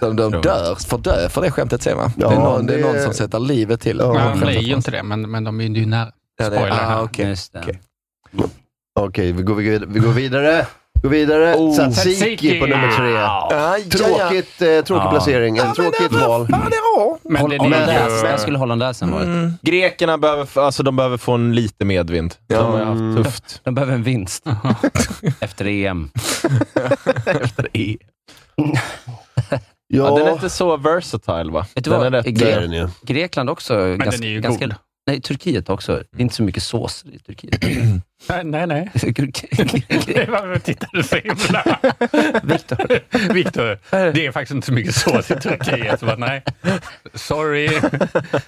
S2: De, de dör, får dö för det skämtet sen va?
S1: Ja,
S2: det, är någon, det är
S1: det-
S2: någon som sätter livet till det.
S5: Man blir ju inte det, men, men de är ju nära.
S2: Ja, det-
S5: Spoiler här.
S2: ah, okej.
S3: Just det.
S2: Okej.
S1: Okej, vi, går, vi, går, vi går vidare. Går vidare. tzatziki,
S5: tzatziki.
S1: på nummer tre.
S2: Ah, ja, ja.
S1: Tråkigt, eh, tråkig
S3: Ja.
S1: placering. En tråkigt val.
S2: Fan, det är Mm. bra.
S5: Men det, det
S3: Hollandaise. Där
S5: är ju...
S3: skulle hollandaisen varit.
S4: Grekerna behöver, alltså, de behöver få en lite medvind. De har ju haft
S2: Mm.
S4: tufft.
S3: De behöver en
S2: [LAUGHS]
S3: vinst. Efter EM.
S4: Ja. den är
S1: Ja,
S4: inte så versatile va?
S3: Vet du
S4: den
S3: vad?
S4: är rätt...
S1: det
S3: Gre-
S1: är den ju.
S3: Grekland också. Men ganska,
S5: den är ju
S3: ganska,
S5: god. Mm.
S3: Nej, Turkiet också. Det är inte så mycket sås i Turkiet.
S8: [LAUGHS]
S5: Nej, nej.
S3: Gre-
S5: Det var väl tittade så himla...
S4: [LAUGHS]
S5: Viktor. Viktor, det är faktiskt inte så mycket sås i Turkiet. Så bara, nej, sorry.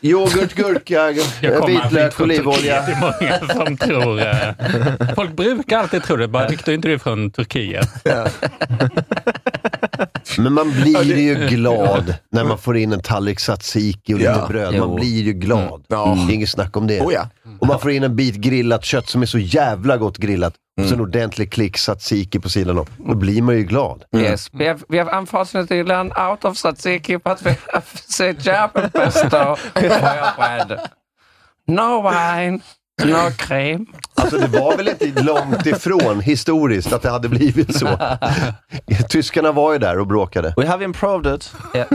S1: Yoghurt, gurka, g-
S5: [LAUGHS] Jag kommer aldrig
S1: vitlök,
S5: från
S1: olivolja.
S5: Turkiet. Det är många som tror... eh, Folk brukar alltid tro det. Bara, Viktor, är inte du från Turkiet?
S1: Men man blir ju glad när man får in en tallrik tzatziki och lite
S2: Ja.
S1: bröd. Man
S3: Jo.
S1: blir ju glad. Mm.
S2: Ja.
S1: Det är inget snack om det.
S2: Oh, ja.
S1: Och man får in en bit grillat kött som är så jävla gott grillat. Och så en ordentlig klick tzatziki på sidan om. Då blir man ju glad.
S8: Yes, we have we have unfortunately run out of tzatziki, but we have the German pesto for your bread. No wine, Smörkräm.
S1: Alltså det var väl inte långt ifrån historiskt att det hade blivit så. [LAUGHS] Tyskarna var ju där och bråkade. [LAUGHS]
S4: We have improved it.
S3: [LAUGHS]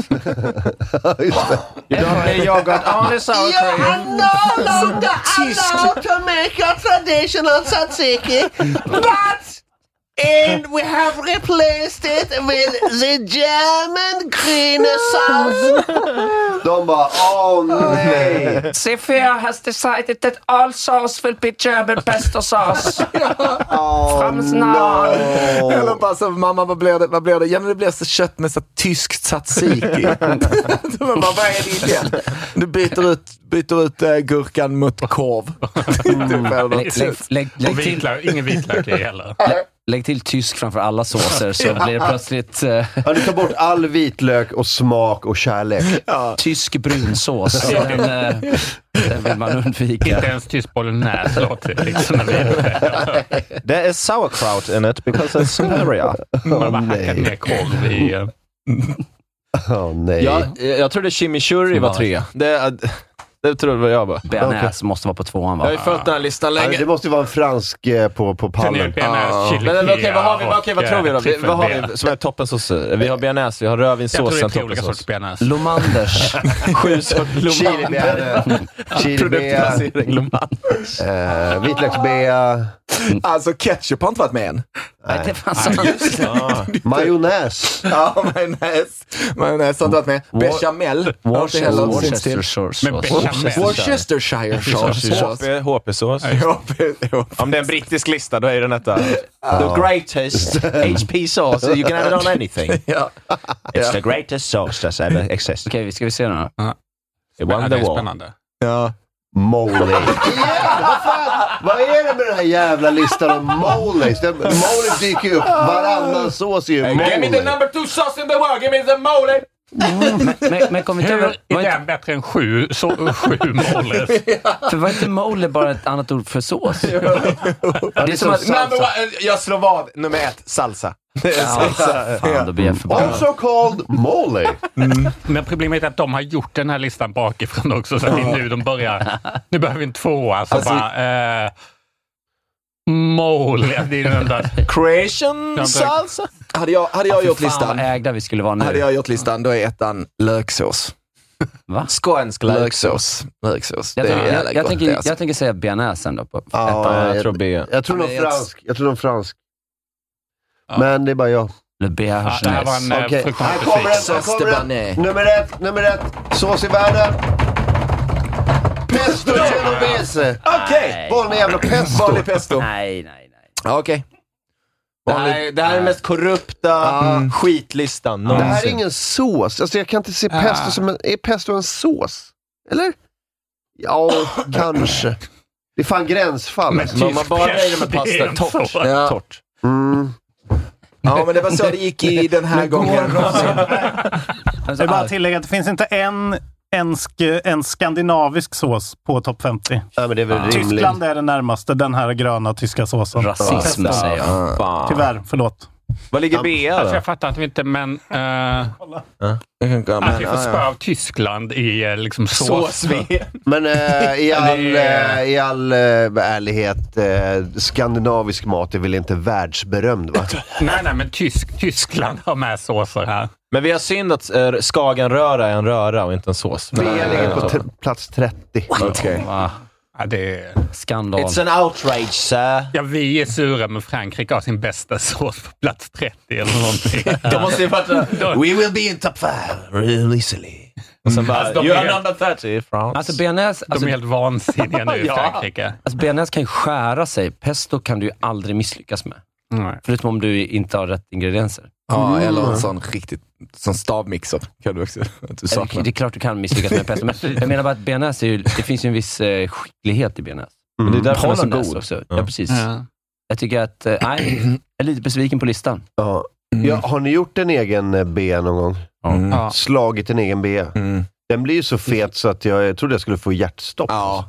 S1: Just det.
S8: Every yoghurt only sour cream.
S7: no longer allowed to make a traditional tzatziki, but and we have replaced it with the German green sauce.
S1: De bara, åh nej!
S8: C4 has decided that all sauce will be German pesto sauce. From now on.
S2: Eller bara så, Alltså, mamma vad blir det? Vad blir det? Ja men det blir så kött med så tysk [LAUGHS] tzatziki. Man bara, vad är det igen? Du byter ut, byter ut äh, gurkan mot korv. [LAUGHS] typ, eller något.
S5: Lägg-
S3: Lägg,
S5: Och
S3: lägg, till,
S5: vitlök, ingen vitlök i heller.
S3: lä- lägg till tysk framför alla
S8: [LAUGHS]
S3: såser så blir det plötsligt eh,
S1: Ja, du tar bort all vitlök och smak och kärlek.
S3: tysk brunsås. Den, eh, den vill man
S5: Inte
S3: undvika.
S5: ens tysk bolognese låter liksom när vi
S4: There is sauerkraut in it because it's superior.
S2: [LAUGHS]
S5: Man bara hackat ner korv i... eh,
S1: Åh nej.
S4: Ja, eh, jag trodde chimichurri var tre. Det, eh, [LAUGHS] det trodde jag bara.
S3: Bearnaise måste vara på tvåan
S4: Jag har ju
S3: va?
S4: följt den här listan
S1: Ja,
S4: länge.
S1: det måste ju vara en fransk eh, på, på pallen.
S5: Bearnaise, chili
S4: Men, men, okej, vad har vi,
S5: och,
S4: okej, vad tror vi då?
S5: eh,
S4: Vi, vad har
S5: tryffelben.
S4: vi som är toppensåser? Vi har bearnaise, vi har
S5: Jag tror
S4: rödvinssås
S5: det är
S4: som
S5: tre olika sorters
S4: toppensås.
S5: bearnaise.
S1: [LAUGHS]
S3: Lomanders.
S4: Sju sorters
S1: Chilibea, chilibea,
S4: Produktplacering, Loman.
S1: eh, vitlöksbea,
S4: Ah,
S2: Alltså ketchup har inte varit med än.
S3: Nej, det fanns inte.
S4: [LAUGHS]
S1: majonnäs.
S2: [LAUGHS] Ja, majonnäs. Majonnäs har inte varit med. Bechamel har inte heller synts till.
S5: Men bechamel.
S2: Worcestershire sauce.
S4: HP, HP-sås. Om det är en brittisk lista, då är den detta.
S5: [LAUGHS]
S4: The greatest HP sauce, you can have it on anything.
S2: Ja.
S4: It's the greatest sauce that's ever existed.
S3: Okej, vi ska vi se nu
S4: It
S5: Ja,
S4: won
S5: det
S4: the
S5: är
S4: war.
S5: spännande.
S2: Ja.
S1: Moley. Ja, vad fan? Vad är det med den här jävla listan om moleys? Den- Moley dyker ju upp. Varannan sås är ju moley.
S4: two sauce in the world, give me the mole!
S3: Men, men kom inte
S5: Hur
S3: över... Var
S5: är
S3: inte,
S5: den bättre än sju, så,
S4: [LAUGHS]
S5: sju målers?
S3: för var inte mole bara ett annat ord för sås? Det är som att...
S4: Number one, eh, jag slår vad. Nummer ett, salsa.
S3: Ja, fan, då blir jag förbannad.
S1: Also called moley.
S5: Men problemet är att de har gjort den här listan bakifrån också, så att det är nu de börjar. Nu behöver vi en tvåa,
S4: Alltså-
S5: så bara... Eh, mål, det är den
S4: [LAUGHS]
S5: enda.
S2: Creation
S4: Salsa?
S2: Hade jag, hade jag gjort
S3: Fy Fan
S2: listan,
S3: vad ägda vi skulle vara
S2: hade
S3: nu.
S2: jag gjort listan, då är ettan löksås.
S3: Va?
S2: Skånsk löksås. Löksås.
S3: Jag
S2: Det är
S3: tänker,
S2: jävla
S3: jag, jag,
S2: gott det,
S3: tänker,
S2: alltså.
S3: jag tänker säga bearnaise ändå. På,
S1: Ja,
S4: jag tror B.
S1: Jag tror någon
S2: Men jag-
S1: fransk. Jag tror någon fransk. Men det är bara jag.
S3: eller
S5: Ja, det här var
S3: bearnaise.
S5: en eh,
S1: Okej. Här
S5: fruktansvärt
S1: kommer
S5: besvikelse.
S1: den, här kommer den. Nummer ett, nummer ett. Sås i världen. Pesto genovese.
S4: Okej!
S1: Vanlig jävla pesto.
S2: Vanlig pesto.
S3: Nej, nej, nej.
S2: Ja, Okej.
S4: Det här, det här är den mest korrupta skitlistan
S1: Det här är
S4: någonsin.
S1: ingen sås. Alltså jag kan inte se pesto
S4: Ah.
S1: som en... Är pesto en sås? Eller? Ja, kanske. Det är fan gränsfall.
S5: Men
S1: alltså.
S5: tysk
S4: Om man bara
S5: press,
S4: nöjer med
S5: det är en
S4: pasta, torrt.
S5: sås.
S2: Ja.
S4: Torrt.
S1: Mm.
S2: Ja, men det var så [LAUGHS] det gick i den här gången.
S3: Alltså,
S9: bara
S3: all-
S9: tillägga att det finns inte en, en, sk- en skandinavisk sås på topp 50.
S1: Ja, men det är väl rimligt.
S9: Tyskland är den närmaste, den här gröna tyska såsen.
S3: rasism
S9: Pesto.
S3: säger jag.
S9: Tyvärr, förlåt.
S4: Vad ligger B
S5: Alltså,
S4: då?
S5: jag fattar att vi inte, men... eh, att vi får spö av Tyskland i eh, liksom sås.
S1: Men eh, i all,
S5: Det är-
S1: eh, i all eh, ärlighet, eh, skandinavisk mat är väl inte världsberömd va?
S5: [LAUGHS] Nej, nej, men tysk, Tyskland har med såser här.
S4: Men vi har synd att eh, skagenröra är en röra och inte en sås.
S1: B ligger på t- plats Mm. 30.
S2: Okej.
S3: Va?
S5: Ja, det är...
S3: Skandal.
S4: It's an outrage, sir.
S5: Ja, vi är sura, men Frankrike har sin bästa sås på plats 30 eller någonting.
S4: De måste ju fatta. [LAUGHS] We will be in top five real easily. Och sen bara,
S5: Alltså, de
S4: you
S5: är-
S4: are number 30 France.
S3: Alltså bearnaise,
S5: De
S3: alltså,
S5: är helt vansinniga nu i
S4: Ja.
S5: Frankrike.
S3: alltså, bearnaise kan ju skära sig. Pesto kan du ju aldrig misslyckas med.
S5: Nej.
S3: Förutom om du inte har rätt ingredienser.
S2: Ja, eller en sån riktigt sån stavmixer kan du också att du
S3: Det
S2: saknar.
S3: är klart du kan misslyckas med pesto, men jag menar bara att bearnaise är ju, det finns ju en viss eh, skicklighet i bearnaise.
S4: det är därför den är så
S3: Hollandaise
S4: god.
S3: också.
S4: Ja.
S3: Ja. precis. Jag tycker att, eh, nej, jag är lite besviken på listan.
S1: Ja. Ja, har ni gjort en egen eh, B någon gång?
S2: Mm.
S5: Ja.
S1: Slagit en egen B?
S2: Mm.
S1: Den blir ju så fet så att jag, jag trodde jag skulle få hjärtstopp.
S2: Ja.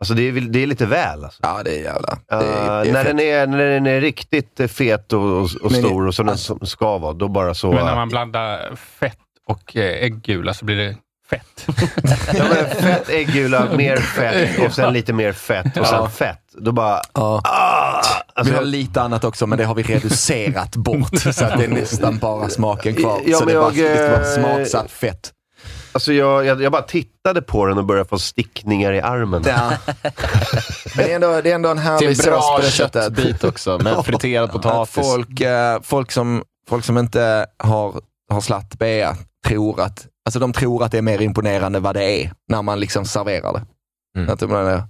S1: Alltså det är, väl- det är lite väl. Alltså.
S2: ja, det är jävla... Det
S1: Eh,
S2: är, det
S1: när,
S2: är fett.
S1: den är, när den är riktigt eh, fet och, och, och
S2: Men-
S1: stor och som den s- ska vara, då bara så...
S5: Men när
S1: eh,
S5: man blandar fett och eh, äggula så blir det fett.
S1: Ja, men fett äggula, mer fett och sen lite mer fett och sen
S2: Ja.
S1: fett. Då bara...
S2: Ja.
S1: alltså-
S2: vi har lite annat också, men det har vi reducerat bort. så att det är nästan bara smaken kvar.
S1: Ja,
S2: så
S1: men
S2: det var,
S1: jag,
S2: det var
S1: eh,
S2: smaksatt fett.
S1: Alltså jag, jag, jag bara tittade på den och började få stickningar i armen.
S2: Ja. [LAUGHS] Men det är ändå, det är ändå en
S4: Till en
S2: härlig
S4: bra
S2: sås på det sättet.
S4: köttbit också, [LAUGHS] med friterad
S2: Att
S4: potatis.
S2: folk, eh, folk, som, folk som inte har, har slatt bea tror att, alltså de tror att det är mer imponerande vad det är när man liksom serverar det. Att de menar,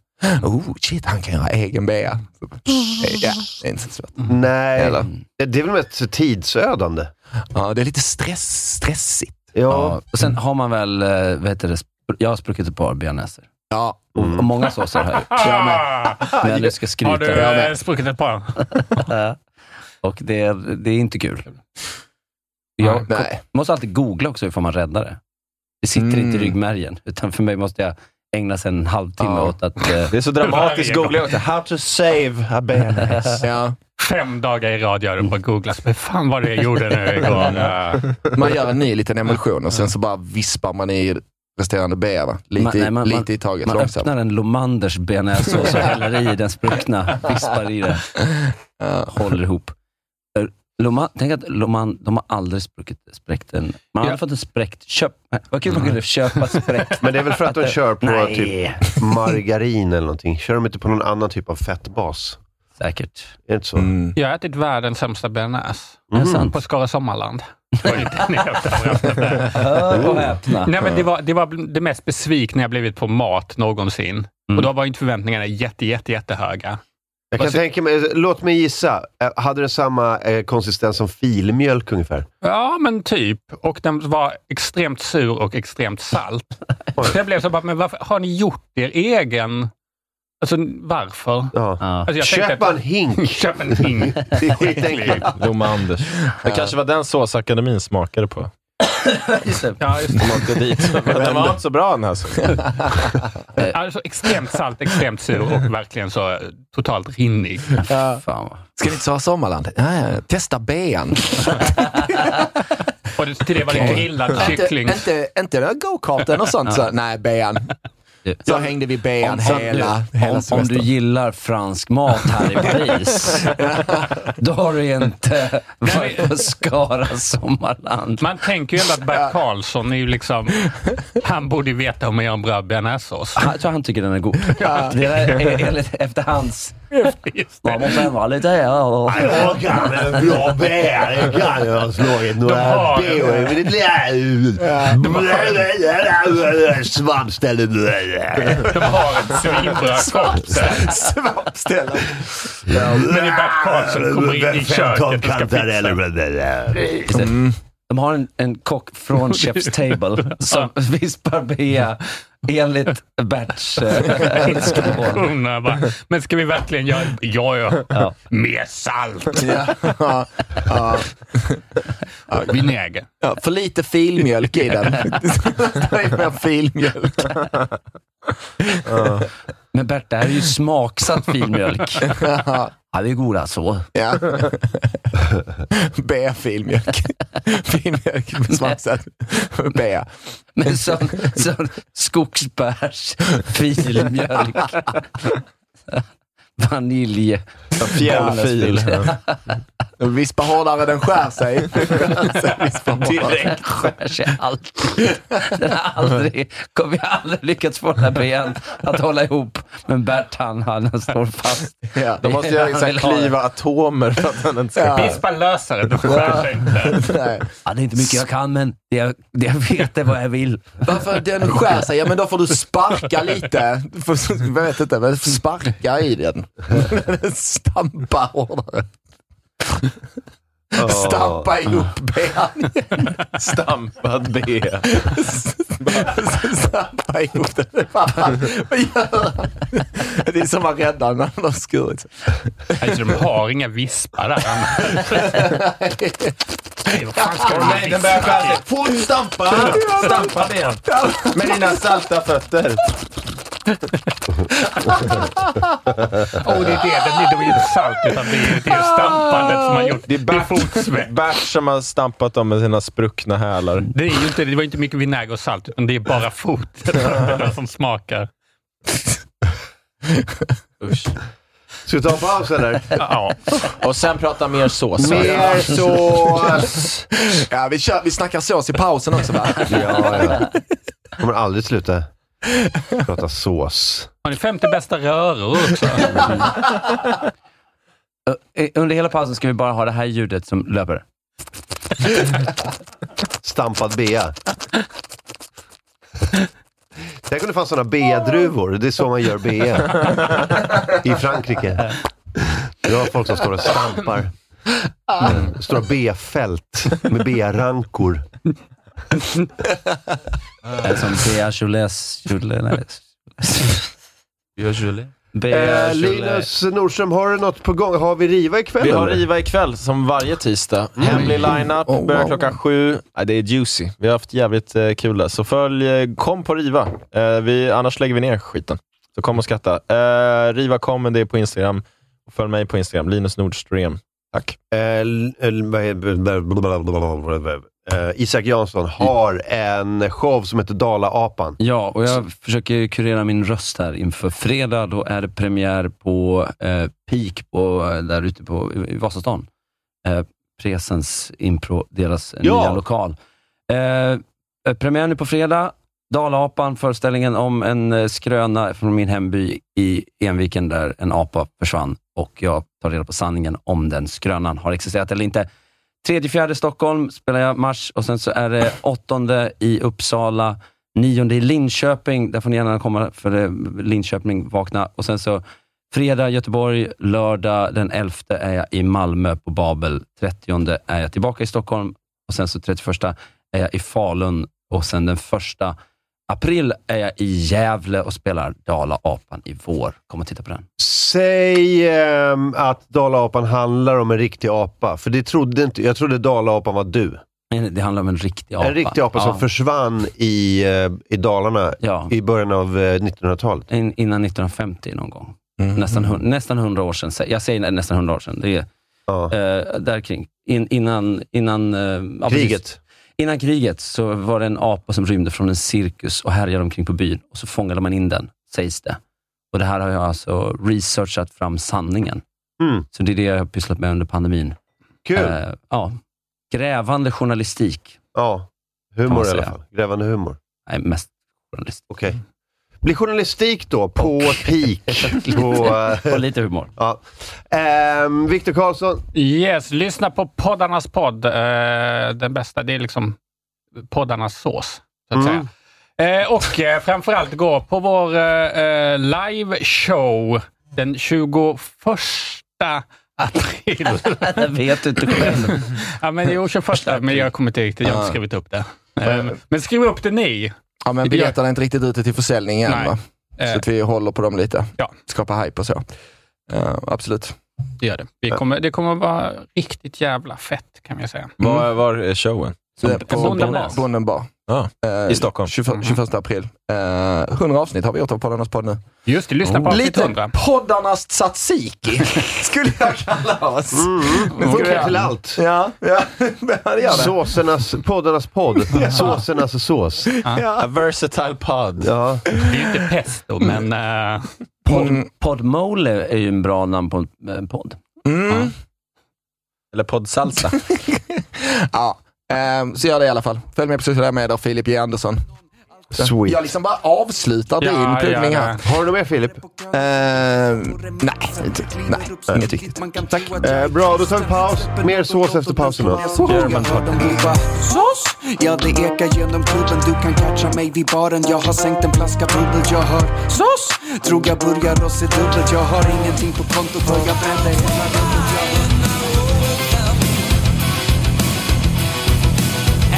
S2: oh shit, han kan göra egen bea. Så, Ja, det är inte så svårt.
S1: Nej,
S2: Eller?
S1: det, det är väl mest tidsödande.
S2: Ja, det är lite stress, stressigt.
S1: Ja.
S3: Ja. Och sen har man väl, eh, vad heter det, spr- jag har spruckit ett par bearnaiser.
S2: Ja,
S4: Mm.
S1: Mm.
S3: Och många såser har jag gjort.
S4: [LAUGHS]
S3: Men jag ska
S5: Ah! Har
S3: skryta. [LAUGHS]
S5: du
S3: Jag
S5: eh,
S3: med.
S5: spruckit ett par?
S3: Och det, är- det är inte kul. Jag
S2: Nej.
S3: kom- måste alltid googla också hur får man rädda det. Det sitter
S2: Mm.
S3: inte i ryggmärgen, utan för mig måste jag ägna sig en halvtimme
S2: Ja.
S3: åt att...
S5: [LAUGHS]
S3: eh,
S4: Det är så dramatiskt googling också. How to save a [LAUGHS] bearnaise.
S2: Ja,
S5: Fem dagar i rad gör du på googla. Men fan vad det jag gjorde nu igår. Ja.
S2: man gör en ny liten emulsion och sen så bara vispar man i resterande bea. va? Lite,
S3: Man- nej, man-
S2: lite i taget,
S3: Man
S2: långsamt.
S3: öppnar en Lomanders bearnaisesås och så häller i den spruckna, vispar i den,
S2: Ja.
S3: håller ihop. Eh, Loman, tänk att Loman, de har aldrig spruckit, spräckt en... Man har
S5: Ja. Mm.
S3: aldrig fått en spräckt... Köp, eh, vad kul man kunde köpa spräckt.
S5: [LAUGHS]
S1: Men det är väl för att de
S3: det-
S1: kör på
S3: Nej.
S1: typ margarin eller någonting. Kör de inte på någon annan typ av fettbas?
S3: Säkert.
S1: Är det inte så? Mhm.
S2: Mm.
S5: Jag har ätit världens sämsta bearnaise.
S3: Är det sant?
S5: Mm. På Skara Sommarland. [LAUGHS] Det var inte en jävla överraskning.
S3: Hör och häpna.
S5: Nej, men det, var, det var det mest besvikna jag blivit på mat någonsin.
S2: Mm.
S5: Och då var ju inte förväntningarna jätte, jätte, jättehöga.
S1: Jag kan
S5: Alltså-
S1: tänka mig, låt mig gissa. Eh, Hade den samma eh, konsistens som filmjölk ungefär?
S5: Ja, men typ. Och den var extremt sur och extremt salt.
S2: [LAUGHS]
S5: Så jag blev så bara, men varför har ni gjort er egen? Alltså varför?
S1: Ja.
S3: Ja.
S5: Alltså, jag tänkte
S1: Köp en
S5: [LAUGHS]
S1: hink!
S5: Köp en hink.
S1: Det är skitenkelt.
S4: Lomanders. Det kanske var den såsakademin smakade på.
S5: Ja, [LAUGHS] just det.
S4: De åkte dit. [LAUGHS] Men den var inte så bra den här såsen.
S5: Alltså extremt salt, extremt sur och verkligen så eh, totalt rinnig.
S3: Fan vad...
S2: Ska ni inte ha Sommarland? Ja, ja, ja. Testa bean.
S5: Och det- till det var det
S2: Okej.
S5: grillad
S2: inte,
S5: kyckling.
S2: inte, inte den här go-karten och sånt. Så, nej, bean. Så hängde vi bean
S3: Om-
S2: hela,
S3: om,
S2: hela
S3: om, om
S2: semestern. [LAUGHS]
S3: du gillar fransk mat här i Paris, då har du inte varit på Skara sommarland.
S5: Man tänker ju ändå att Bert Karlsson är ju liksom... Han borde ju veta hur man gör en bra bearnaisesås.
S3: Han- Jag tror han tycker den är god. Det där är enligt, efter hans...
S5: Just det.
S3: Man måste vara lite... Ja,
S1: Jag kan en bra bär, jag kan jag ha slagit några
S5: har-
S1: bär med ditt lilla svampställe.
S5: De har ett
S4: [LAUGHS]
S5: svinbra korpse.
S2: Svampställen.
S5: Men det är Bert Karlsson kommer in i
S1: Femton
S5: köket och ska fixa.
S1: kantareller.
S3: De har en, en kock från Chef's Table som vispar bea enligt Berts
S2: [LAUGHS]
S3: eh, önskemål.
S5: Undrar bara, Men ska vi verkligen göra... Ja, ja.
S3: Ja.
S5: Mer salt.
S2: Ja, ja, ja.
S5: Vinäger.
S2: Ja, för lite filmjölk i den. [LAUGHS] Det är mer filmjölk.
S3: Men Bert, det här är ju smaksatt filmjölk.
S2: Ja,
S3: Ja, det är goda så.
S2: ja. B-filmjölk. Filmjölk med svampsätt.
S3: [LAUGHS]
S2: B.
S3: Men som, som skogsbärs, filmjölk, vanilj.
S4: Fjällfil.
S2: Vispa hårdare, den
S3: [LAUGHS]
S2: skär sig. Sen vispa hårdare.
S3: Den skär sig alltid. Den har aldrig, kommer jag aldrig lyckats få den här ben att hålla ihop. Men Bert han, han står fast.
S2: Ja.
S4: De måste
S3: Ja,
S4: ju
S3: han
S4: så här
S3: vill ha det.
S4: klyva atomer för att den inte ska...
S2: Ja.
S5: Vispa lösare, du skär sig inte.
S2: Nej.
S3: Ja, det är inte mycket jag kan, men det jag, det jag vet är vad jag vill.
S2: Varför den skär sig? Ja men då får du sparka lite. Du får- Jag vet inte, men sparka i den. Stampa hårdare. Stampa ihop bean.
S4: Stampad B.
S2: Stampa ihop den. Fan, Vad gör han? Det är som man räddar när han har skurit sig.
S5: Alltså, de har inga vispar där. Nej, vad fan ska de
S4: Nej, den börjar skära sig. Fort stampa! Stampa ben. Med dina salta fötter.
S5: Åh, det är det. Det blir, det blir inte salt, utan det är, det är stampandet som har gjort det. är fotsvett.
S4: Bärs som har stampat dem med sina spruckna hälar.
S5: Det, är ju inte, det var inte mycket vinäger och salt, utan [LAUGHS] det är bara foten som smakar.
S1: Ska vi ta en paus eller?
S5: Ja.
S2: Och sen prata mer sås. va?
S1: Mer sås!
S2: Ja, vi, kör, vi snackar sås i pausen också va?
S1: Ja, ja. Kommer aldrig sluta prata sås.
S5: Har ni femte bästa röror också?
S3: Eh, Under hela pausen ska vi bara ha det här ljudet som löper.
S1: Stampad bea. Tänk om det fanns sådana bea-druvor. Det är så man gör bea. I Frankrike. Det har folk som står och stampar. Mm. Stora bea-fält med bea-rankor.
S3: Eller Eh, som Bea Joles... Jule, nej.
S2: Gör Julie.
S3: Bea
S1: Eh,
S3: Joles.
S1: Linus Nordström, har du något på gång? Har vi riva ikväll?
S4: [LAUGHS] Vi har
S1: eller?
S4: Riva ikväll, som varje tisdag. Hemlig lineup,
S2: Mm. Oh,
S4: börjar
S2: wow.
S4: klockan sju. Ja, det är juicy. Vi har haft jävligt eh, kul där. Så följ, eh, kom på Riva. Eh, vi, annars lägger vi ner skiten. Så kom och skratta. Eh, riva kommer, det är på Instagram. Och följ mig på Instagram, Linus Nordström. Tack.
S1: El- el- eh, vad heter- blablabla- Eh, Isak Jansson har en show som heter Dala-apan.
S3: Ja, och jag försöker ju kurera min röst här inför fredag. Då är det premiär på eh, Peak på, eh, där ute på, i i Vasastan. Eh, Presens Impro, deras
S1: Ja.
S3: nya lokal. Eh, eh, premiären är på fredag. Dalapan, föreställningen om en eh, skröna från min hemby i Enviken där en apa försvann och jag tar reda på sanningen om den skrönan har existerat eller inte. Tredje, fjärde Stockholm spelar jag mars och sen så är det åttonde i Uppsala, nionde i Linköping. Där får ni gärna komma för eh, Linköping vakna. Och sen så fredag Göteborg, lördag den 11 är jag i Malmö på Babel. 30 är jag tillbaka i Stockholm och sen så 31 är jag i Falun och sen den första april är jag i Gävle och spelar Dala-apan i vår. Kom och titta på den.
S1: Säg ehm, att Dala-apan handlar om en riktig apa, för det trodde inte, jag trodde Dala-apan var du.
S3: Nej, Det handlar om en riktig apa.
S1: En riktig apa som
S3: Ja.
S1: försvann i, eh, i Dalarna
S3: Ja.
S1: i början av eh, 1900-talet.
S3: In, innan 1950 någon gång.
S1: Mhm.
S3: Nästan, hun- nästan 100 år sedan. sä- Jag säger nästan 100 år sedan. Det är
S1: Ja.
S3: eh, där kring. In, innan, innan, eh, ja, precis.
S1: Kriget.
S3: innan kriget så var det en apa som rymde från en cirkus och härjade omkring på byn. Och så fångade man in den, sägs det. Och Det här har jag alltså researchat fram sanningen.
S1: Mm.
S3: Så det är det jag har pysslat med under pandemin.
S1: Kul!
S3: Eh, ja. Grävande journalistik.
S1: ja.
S3: kan man
S1: Humor i alla
S3: säga.
S1: fall. Grävande humor.
S3: Nej, mest journalistik.
S1: Okej. Blir journalistik då, på peak.
S3: [LAUGHS]
S1: på, eh,
S3: Och lite humor.
S1: ja. Ehm, Viktor Karlsson,
S5: Yes, lyssna på poddarnas podd. Eh, Den bästa, det är liksom poddarnas sås, så att
S1: Mm.
S5: säga. Eh, Och eh, framförallt gå på vår eh, eh, live show den 21 april.
S3: [LAUGHS] Jag vet inte själv.
S5: ja, men jo, 21, men jag kommer inte riktigt, jag har inte skrivit upp det. Eh, Men skriv upp det ni.
S2: Ja, men biljetterna är inte riktigt ute till försäljning än
S5: Nej.
S2: va?
S5: Eh.
S2: Så att vi håller på dem lite.
S5: Ja.
S2: Skapa hype och så. Eh, absolut.
S5: Det gör det. Vi kommer, det kommer vara riktigt jävla fett, kan jag säga.
S4: Var,
S1: Mm.
S4: var är showen?
S2: Så det är
S5: En
S2: på
S5: Bonden
S2: Bonden-
S5: Bar.
S2: Bonden bar.
S4: Ja,
S2: Eh,
S4: I Stockholm.
S2: 21, 21 april. Eh, 100 avsnitt har vi gjort av Poddarnas podd nu.
S5: Just det, lyssna på avsnitt
S2: Lite
S5: 100.
S1: [LAUGHS]
S2: poddarnas tzatziki skulle jag kalla oss.
S1: Mm. det funkar till allt.
S2: Ja, ja. [LAUGHS] det gör det.
S1: Såsernas,
S3: [LAUGHS]
S1: poddarnas podd. Såsernas sås.
S4: A versatile pod.
S1: Ja.
S5: Det är ju inte pesto, men... eh,
S3: Pod, Podmole är ju en bra namn på en en podd.
S2: Mm.
S4: Eller poddsalsa.
S2: Eh, Ja. ehm, så gör det i alla fall. Följ med på sociala medier, Filip J Andersson. Jag
S1: Sweet.
S2: liksom bara avslutar
S5: Ja,
S2: din plugning
S5: ja,
S2: här.
S1: Har du något mer Filip?
S2: Ehm, nej, inte, nej, inget viktigt.
S7: Tack.
S1: Eh, bra, då tar vi paus. Mer sås efter pausen då.
S7: German Sås! Ja, det ekar genom klubben. Du kan catcha mig vid baren. Jag har sänkt en flaska bubbel. Jag hör sås! Tror jag börjar och ser dubbelt. Jag har ingenting på kontot för jag brände hela rummet. Jag hör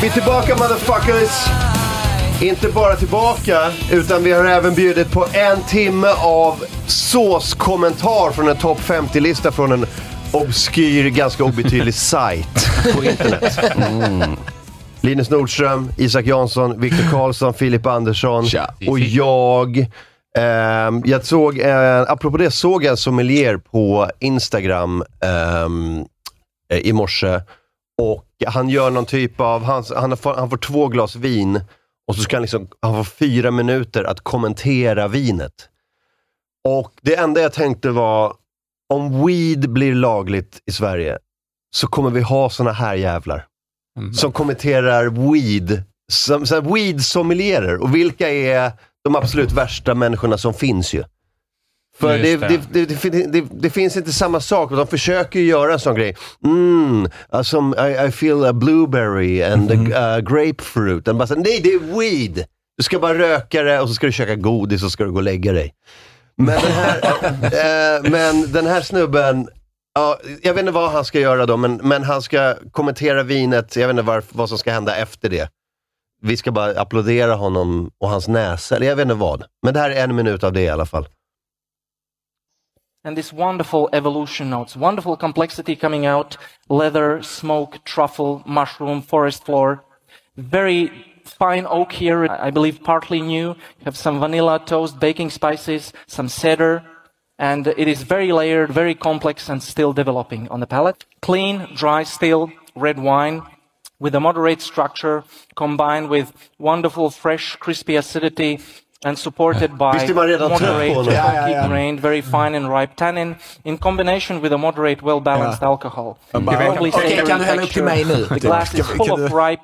S1: Vi är tillbaka motherfuckers! Inte bara tillbaka, utan vi har även bjudit på en timme av såskommentar från en topp 50-lista från en obskyr, ganska obetydlig sajt på internet. Mm. Linus Nordström, Isak Jansson, Viktor Karlsson, Filip Andersson
S2: Tja.
S1: och jag. Ehm, jag såg, eh, apropå det, såg jag sommelier på Instagram ehm, eh, i morse. Och han gör någon typ av, han, han, får, han får två glas vin och så ska han liksom, han får fyra minuter att kommentera vinet. Och det enda jag tänkte var, om weed blir lagligt i Sverige, så kommer vi ha såna här jävlar. Som kommenterar weed, som, så här, weed sommelierer. Och vilka är de absolut värsta människorna som finns ju? För det,
S10: Just
S1: det. Det, det, det, det finns inte samma sak, och de försöker ju göra en sån grej. Mm, som I, I feel a blueberry and a, a grapefruit. And bara, så här, nej, det är weed! Du ska bara röka det och så ska du käka godis och så ska du gå och lägga dig. Men den här, eh, men den här snubben, ja, jag vet inte vad han ska göra då, men, men han ska kommentera vinet. Jag vet inte var, vad som ska hända efter det. Vi ska bara applådera honom och hans näsa, eller jag vet inte vad. Men det här är en minut av det i alla fall.
S11: and this wonderful evolution notes, wonderful complexity coming out, leather, smoke, truffle, mushroom, forest floor. Very fine oak here, I I believe partly new. You have some vanilla, toast, baking spices, some cedar, and it is very layered, very complex and still developing on the palate. Clean, dry still, red wine with a moderate structure combined with wonderful, fresh, crispy acidity and supported by
S1: Visst är man redan trött på
S11: moderate,
S1: honom? Ja, ja,
S11: oaky
S1: ja.
S11: grain grained, very fine and ripe tannin in combination with a moderate, well balanced alcohol.
S2: bara-
S11: Lovely
S2: Okej,
S11: savory
S2: kan du hälla upp till mig nu?
S11: texture. The glass is
S2: Kan-
S11: full
S2: kan
S11: of ripe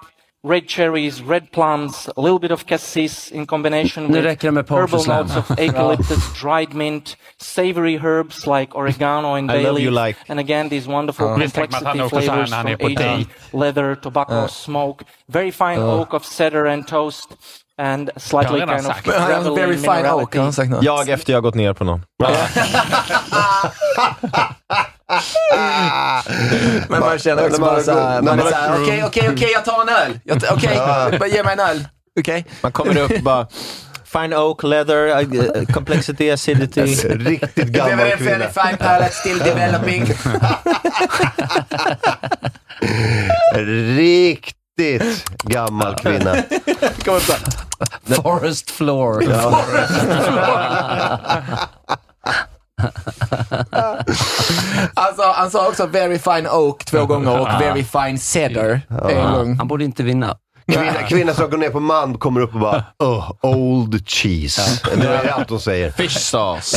S11: red cherries, red plums, a little bit of cassis in combination
S3: Nu
S11: with
S3: räcker det med Poetry
S11: herbal
S3: Slam.
S11: notes of eucalyptus, dried mint, savory herbs like oregano and
S3: I
S11: bay
S3: love
S11: leaf,
S3: you like-
S11: and again these wonderful
S3: Ja. Visst tänker man att han
S11: complexity
S3: åker så här
S11: flavors
S3: när han
S11: from
S3: är på
S11: aging,
S3: dejt.
S11: leather, tobacco,
S2: Eh,
S3: Ja.
S11: smoke, very fine
S2: Ja.
S11: oak of cedar and toast, and slightly
S2: redan
S11: kind of
S2: sagt. Men han har
S11: gravelly
S2: very fine oak,
S11: minerality.
S2: har han sagt något?
S4: Jag efter jag har gått ner på någon.
S2: Men man känner också
S4: När man
S2: bara
S4: har
S2: såhär,
S4: gått-
S2: man
S4: när
S2: är
S4: man
S2: såhär,
S4: har-
S2: okej, okej, okej, jag tar en öl. Jag tar- Okej,
S4: Ja.
S2: bara ge mig en öl. Okej?
S4: Man kommer upp och bara, fine oak, leather, uh, uh, complexity, acidity.
S1: Riktigt
S2: Very, very fine palate, still developing.
S1: Riktigt gammal kvinna.
S2: Kommer upp såhär.
S3: Forest floor.
S1: Ja.
S2: Alltså, han sa också very fine oak två gånger och very fine cedar en gång.
S3: Han borde inte vinna.
S1: Kvinna, kvinna som går ner på man kommer upp och bara oh, old cheese. Det är allt hon säger.
S4: Fish sauce.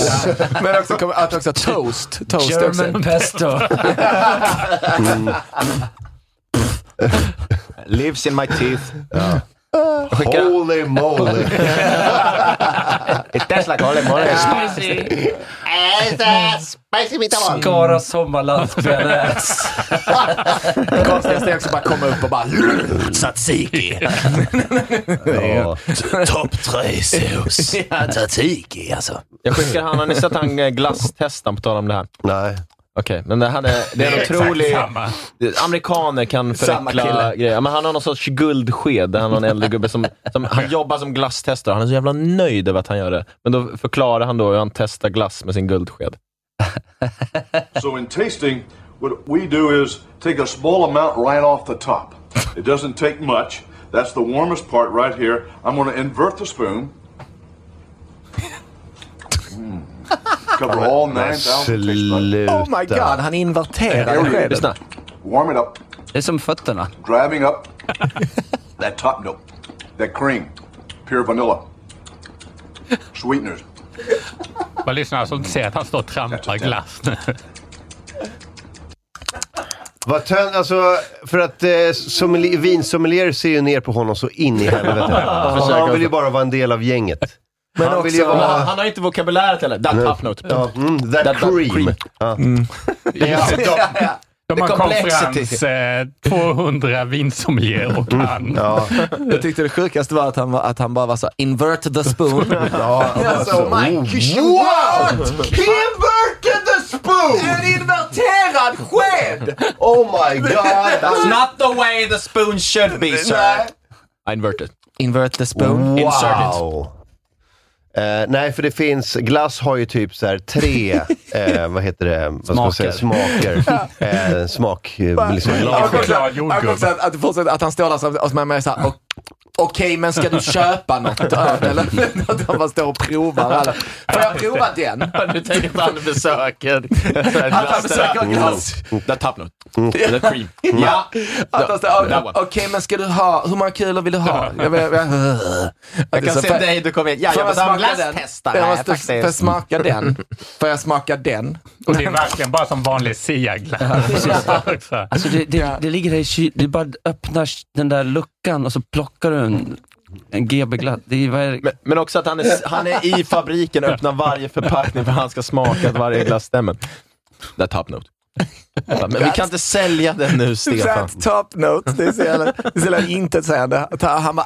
S2: Men också, kom- att också toast. toast
S3: German [LAUGHS]
S2: också.
S3: pesto.
S4: Lives in my teeth.
S1: Holy moly.
S4: It tastes like holy moly.
S11: [LAUGHS]
S3: Spicy.
S1: Spicy
S3: Skara sommarlandsspelare. [LAUGHS]
S2: Det konstigaste är också bara komma upp och bara [LAUGHS] tzatziki.
S1: Ja.
S2: Topp tre sås. Tzatziki alltså.
S4: Jag skickar han, har ni sett han eh, glasstestaren på tal om det här?
S1: Nej.
S4: Okej, men det, han är,
S2: [LAUGHS]
S4: det är en otrolig... Amerikaner kan
S2: Samma
S4: förenkla
S2: kille.
S4: grejer. Ja, Men han har någon sorts guldsked. Han har en äldre gubbe som, som han jobbar som glasstestare. Han är så jävla nöjd över att han gör det. Men då förklarar han då hur han testar glass med sin guldsked.
S12: [LAUGHS] So in tasting, what we do is take a small amount right off the top. It doesn't take much. That's the warmest part right here. I'm going to invert the
S2: [LAUGHS]
S12: spoon. Mm. Cover all nine thousand.
S2: Oh my god, han inverterade skedet.
S12: Warm it up,
S3: Det är som fötterna.
S12: driving up that top note, that cream, pure vanilla, sweeteners.
S5: Vad lyssnarna som alltså, inte ser att han står och trampar glass [LAUGHS] nu.
S1: Vad tönt, alltså, för att eh, sommelier, vinsommelier ser ju ner på honom så in i
S4: [LAUGHS]
S1: helvete. Han vill ju bara vara en del av gänget.
S4: Men
S1: han
S4: också,
S1: vill ju
S4: han,
S1: vara...
S4: han har inte vokabuläret heller. That tough note.
S1: Ja, mm, that,
S4: That- that
S1: cream.
S4: cream.
S1: Ja.
S5: De
S2: The
S5: har en
S2: complexity.
S5: konferens, eh, 200 vinsommelier och
S11: Mm.
S5: han.
S1: Ja.
S2: Jag tyckte det sjukaste var att han, var, att han bara var så här, [LAUGHS] invert the spoon.
S1: Ja,
S2: alltså, oh my gosh, what?
S1: He inverted the spoon!
S2: En inverterad sked!
S1: Oh my god!
S4: That's not the way the spoon should be, sir. I inverted.
S2: Invert the spoon.
S1: Wow! Eh, nej, för det finns, glass har ju typ så här
S4: [LAUGHS]
S1: tre, eh, vad heter det, vad ska man säga, smaker.
S4: [LAUGHS]
S1: Eh, smak, eh, liksom,
S5: Choklad,
S2: Jag kommer också
S5: jordgubb.
S2: att, att, fortsätta- att han står där som- och man är såhär, och okej men ska du köpa något öl [LAUGHS] eller? Att de bara står och provar. alla. Får jag prova den?
S4: Du tänker att han besöker...
S2: Att han besöker glass.
S4: Mm.
S2: Mm.
S4: That top note.
S2: [LAUGHS]
S4: That cream. Ja.
S2: Att han står,
S4: That
S2: "Ja,
S4: one.
S2: Okej men ska du ha, hur många kulor vill du ha? Jag, Alltså, bara- jag,
S4: Jag kan se dig, du kommer in. Ja,
S2: Får
S4: jag
S2: smaka
S4: var
S2: den?
S4: glasstestare.
S2: Jag måste
S4: faktiskt.
S2: får jag smaka den. Får jag smaka den?
S5: Och det är
S2: [LAUGHS]
S5: verkligen bara som vanlig siaglass. också.
S3: Alltså det, det, det ligger där i kylen, det är bara att öppna den där luckan och så plockar du en, en GB glatt. Det är, vad är det?
S4: Men, men också att han är, han är i
S2: [LAUGHS]
S4: fabriken och öppnar varje förpackning för han ska smaka att varje glass stämmer. That top note. Men vi kan inte sälja den nu, Stefan.
S2: That top note. Det är så jävla, det är så jävla intetsägande. Att Han bara,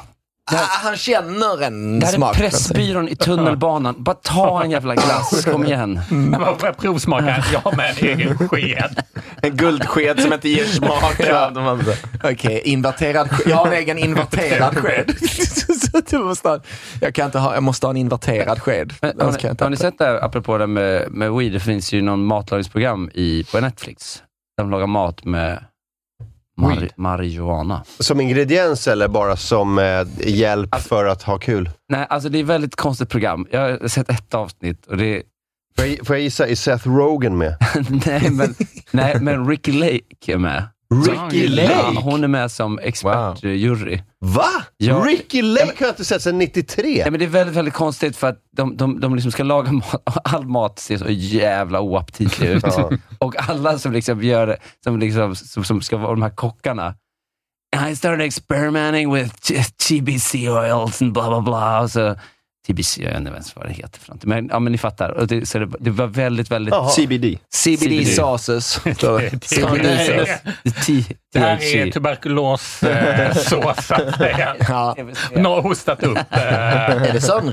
S2: ah, han känner en
S3: Det här är
S2: smak. alltså.
S3: Pressbyrån i tunnelbanan. Bara ta en jävla glass, kom igen.
S5: Mm. Man får provsmaka. Jag har med en egen sked.
S4: En guldsked som inte
S2: [LAUGHS]
S4: ger smak. av de andra.
S2: Okej, inverterad sked. Jag har en egen inverterad sked. Så [LAUGHS] du måste ha- jag, kan inte ha, jag måste ha en inverterad sked.
S3: Men, har, ni, har ni sett det här, apropå det med, med weed, det finns ju någon matlagningsprogram i, på Netflix. Där de lagar mat med mar, marijuana.
S1: Som ingrediens eller bara som eh, hjälp för att ha kul?
S3: Nej, alltså det är ett väldigt konstigt program. Jag har sett ett avsnitt och det...
S1: Får jag, får jag gissa, är Seth Rogen [LAUGHS] med?
S3: [LAUGHS] nej, men, nej, men Ricky Lake är med.
S1: Ricky Lake?
S3: Ja, hon är med som expertjury.
S1: Va?
S3: Ja.
S1: Ricky Lake har jag inte sett sedan 93.
S3: Nej, men det är väldigt, väldigt konstigt för att de, de, de liksom ska laga mat och all mat ser så jävla oaptitlig ut.
S1: Ja.
S3: Och alla som liksom gör det, som, liksom, som, som ska vara de här kockarna. I started experimenting with t- TBC oils and bla bla bla. Och så, TBC, jag vet inte ens vad det heter för någonting. Men, ja, men ni fattar. Och det, så det, det var väldigt, väldigt...
S2: Jaha. CBD.
S3: [LAUGHS]
S2: CBD sauces.
S3: CBD. T-
S5: Det här är
S3: THC.
S5: tuberkulossås, så att säga.
S2: Ja.
S5: [LAUGHS] Någon har hostat upp. eh,
S2: Är det sån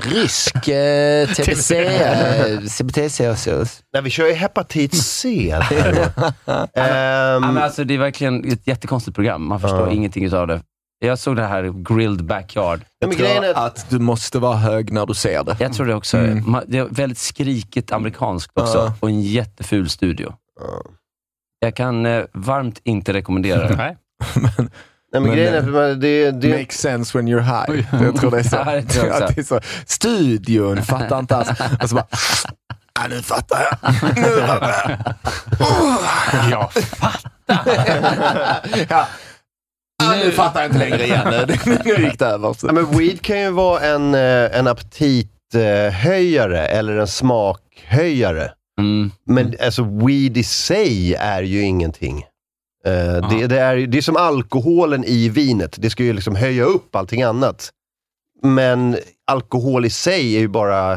S3: [LAUGHS]
S2: rysk eh, TBC? eh, CBT-sås?
S1: Nej, vi kör ju hepatit [LAUGHS] C. Ehm,
S3: Ja,
S1: Mm.
S3: men alltså, det är verkligen ett jättekonstigt program. Man förstår ingenting utav det. Jag såg det här grilled backyard.
S2: Jag tror att du måste vara hög när du ser det.
S3: Jag tror det också. Ma- Det är väldigt skrikigt amerikanskt också
S2: Ja.
S3: och en jätteful studio. Jag kan eh, varmt inte rekommendera
S5: [LAUGHS]
S3: det.
S5: Nej.
S1: Nej, men,
S2: Men,
S1: grejen är att man- det, det,
S2: Makes sense when you're high. Jag tror det är
S3: [LAUGHS]
S2: så.
S3: Ja, det tror jag också.
S2: Att det är så. Studion, fattar
S3: [LAUGHS]
S2: inte alls. Och så bara, ja, nu fattar jag. Nu fattar jag.
S5: Ja,
S2: Ja. Ja, nu fattar jag inte längre igen. Nu gick det över.
S1: Ja, men weed kan ju vara en, eh, en aptithöjare eller en smakhöjare.
S3: Mm.
S1: Men alltså weed i sig är ju ingenting. Eh, det, det, är, ju- det är som alkoholen i vinet. Det ska ju liksom höja upp allting annat. Men alkohol i sig är ju bara
S4: Den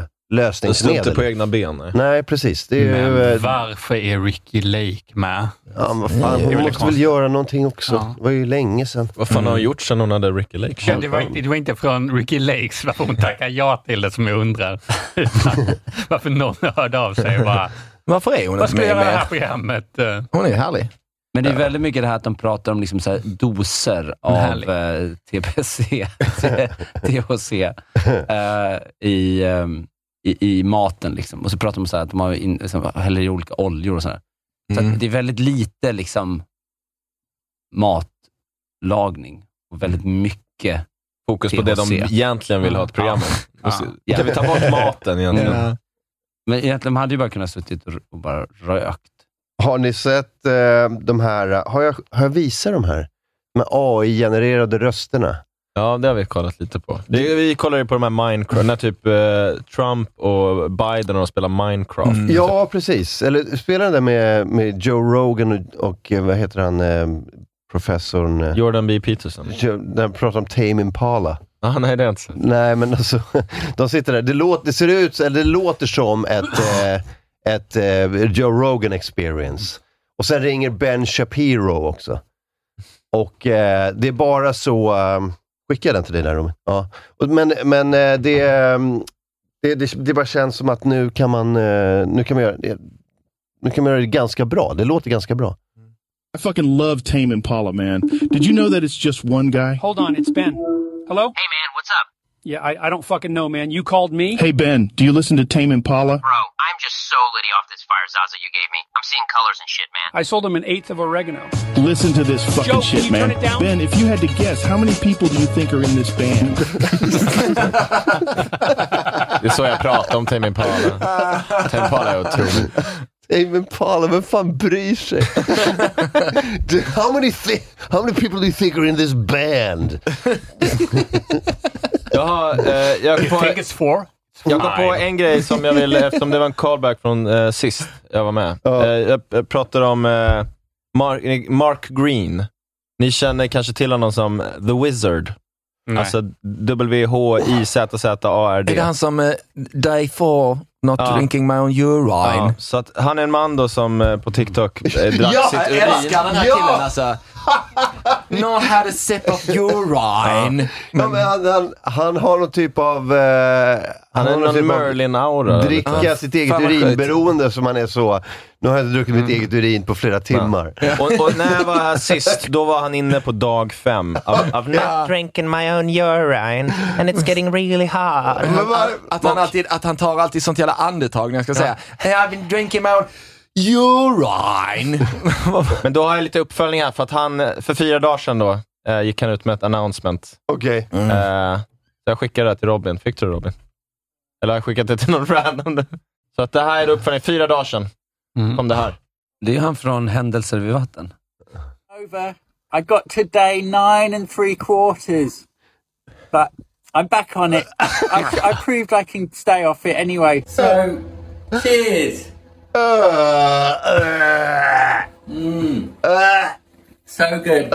S4: står inte på
S1: lösningsmedel.
S4: egna ben. nej.
S1: Nej, precis. Det är ju...
S5: Men
S1: eh,
S5: varför är Ricky Lake med?
S1: Ja, men fan,
S5: Det är
S1: hon
S5: väl
S1: måste väl
S5: konstigt.
S1: göra någonting också.
S5: Ja.
S1: Det var ju länge sedan.
S4: Vad fan
S2: Mm.
S4: har hon gjort sen hon hade Ricky Lake?
S5: Ja, det, var inte, det var inte från Ricky Lakes varför hon tackar ja till det som jag undrar. Utan varför någon hörde av sig och bara,
S2: Varför är hon
S5: vad
S2: inte
S5: ska jag
S2: med
S5: göra i det här
S2: mer?
S5: programmet? Eh,
S2: Hon är härlig.
S3: Men det är väldigt mycket det här att de pratar om liksom så här doser av
S5: Härligt.
S3: eh,
S4: [LAUGHS]
S3: TPC, THC eh, i, ehm, i, i maten. Liksom. Och så pratar de om så här att de har in, liksom, häller i olika oljor och sådär. Så
S2: Mm.
S3: att det är väldigt lite liksom, matlagning och väldigt mycket
S4: Fokus på det Mm. de
S3: THC.
S4: egentligen vill ha ett program [LAUGHS] om.
S5: Ja.
S3: Ja.
S4: Kan vi ta bort maten egentligen?
S2: Ja.
S3: Men egentligen de hade ju bara kunnat suttit och, och bara rökt.
S1: Har ni sett eh, de här, eh, har jag, har jag visat de här? Med AI-genererade rösterna.
S4: Ja, det har vi kollat lite på. Det, vi kollar ju på de här Minecraft, när typ eh, Trump och Biden och spelar Minecraft.
S2: Mm.
S1: Ja, precis. Eller spelar den där med, med Joe Rogan och, och eh, vad heter han, eh, professorn? Eh,
S4: Jordan B. Peterson.
S1: Joe, när han pratar om Tame Impala.
S4: Ah, nej, det är inte så.
S1: Nej, men alltså, [LAUGHS] de sitter där. Det, låter, det ser ut, eller det låter som ett, eh, ett eh, Joe Rogan experience. Och sen ringer Ben Shapiro också. Och eh, det är bara så... Eh, skickar jag den till dig där, Robin? Ja. Och, men men eh, det, eh, det, det, det bara känns som att nu kan man, eh, nu kan man göra det. Nu kan man göra det ganska bra. Det låter ganska bra.
S13: I fucking love Tame Impala, man. Did you know that it's just one guy?
S14: Hold on, it's Ben. Hello? Hey, man, what's up? Yeah, I, I don't fucking know, man. You called me?
S13: Hey, Ben, do you listen to Tame Impala?
S15: Bro, I'm just so litty off this fire Zaza you gave me. I'm seeing colors and shit, man.
S14: I sold him an eighth of oregano.
S13: Listen to this fucking
S14: Joe, can
S13: shit,
S14: you
S13: man.
S14: turn it down?
S13: Ben, if you had to guess, how many people do you think are in this band?
S4: Det är så jag pratar om Tame Impala. Tame Impala är otroligt.
S1: Tame Impala, vem fan bryr
S4: [LAUGHS]
S1: sig? Dude, how, many thi- how many people do you think are in this band?
S4: Jag har, eh, jag, kom,
S5: think it's four?
S4: jag kom på en grej som jag vill, eftersom det var en callback från eh, sist jag var med. Eh, jag, jag pratade om eh, Mark, Mark Green. Ni känner kanske till honom som The Wizard.
S2: Nej.
S4: Alltså W-H-I-Z-Z-A-R-D.
S2: Är det han som eh, Day for not
S4: Ja.
S2: drinking my own urine?
S4: Ja, så att han är en man då som eh, på TikTok eh, drack
S2: Ja,
S4: sitt
S2: jag
S4: urin.
S2: älskar den här
S4: Ja!
S2: killen [LAUGHS] alltså. Know how to sip of urine.
S1: Ja, men han, han, han har någon typ av... eh,
S4: Han är
S1: har
S4: någon
S1: typ av
S4: Merlin-aura. eller?
S1: Dricka
S4: Ja.
S1: sitt eget
S4: Fan, vad Mm. sjukt.
S1: urinberoende som han är så. Nu har jag inte druckit mitt eget urin på flera timmar.
S4: Och, och när jag var här sist, då var han inne på dag fem. Av, av
S2: Ja.
S16: [LAUGHS] drinking my own urine and it's getting really hard.
S2: Att han, alltid, att han tar alltid sånt jävla andetag när jag ska säga hey, I've been drinking my own urine.
S4: [LAUGHS] Men då har jag lite uppföljning här, för att han, eh, för fyra dagar sedan då, eh, gick han ut med ett announcement.
S1: Okej.
S4: Eh, så jag skickade det här till Robin. Fick du det Robin? Eller har jag skickat det till någon [LAUGHS] random? Så att det här är då uppföljning. Fyra dagar sedan kom det här.
S3: Det är han från Händelser vid vatten.
S17: over. I got today nine and three quarters, but I'm back on it. I, I proved I can stay off it anyway. So, cheers. Mm. So good.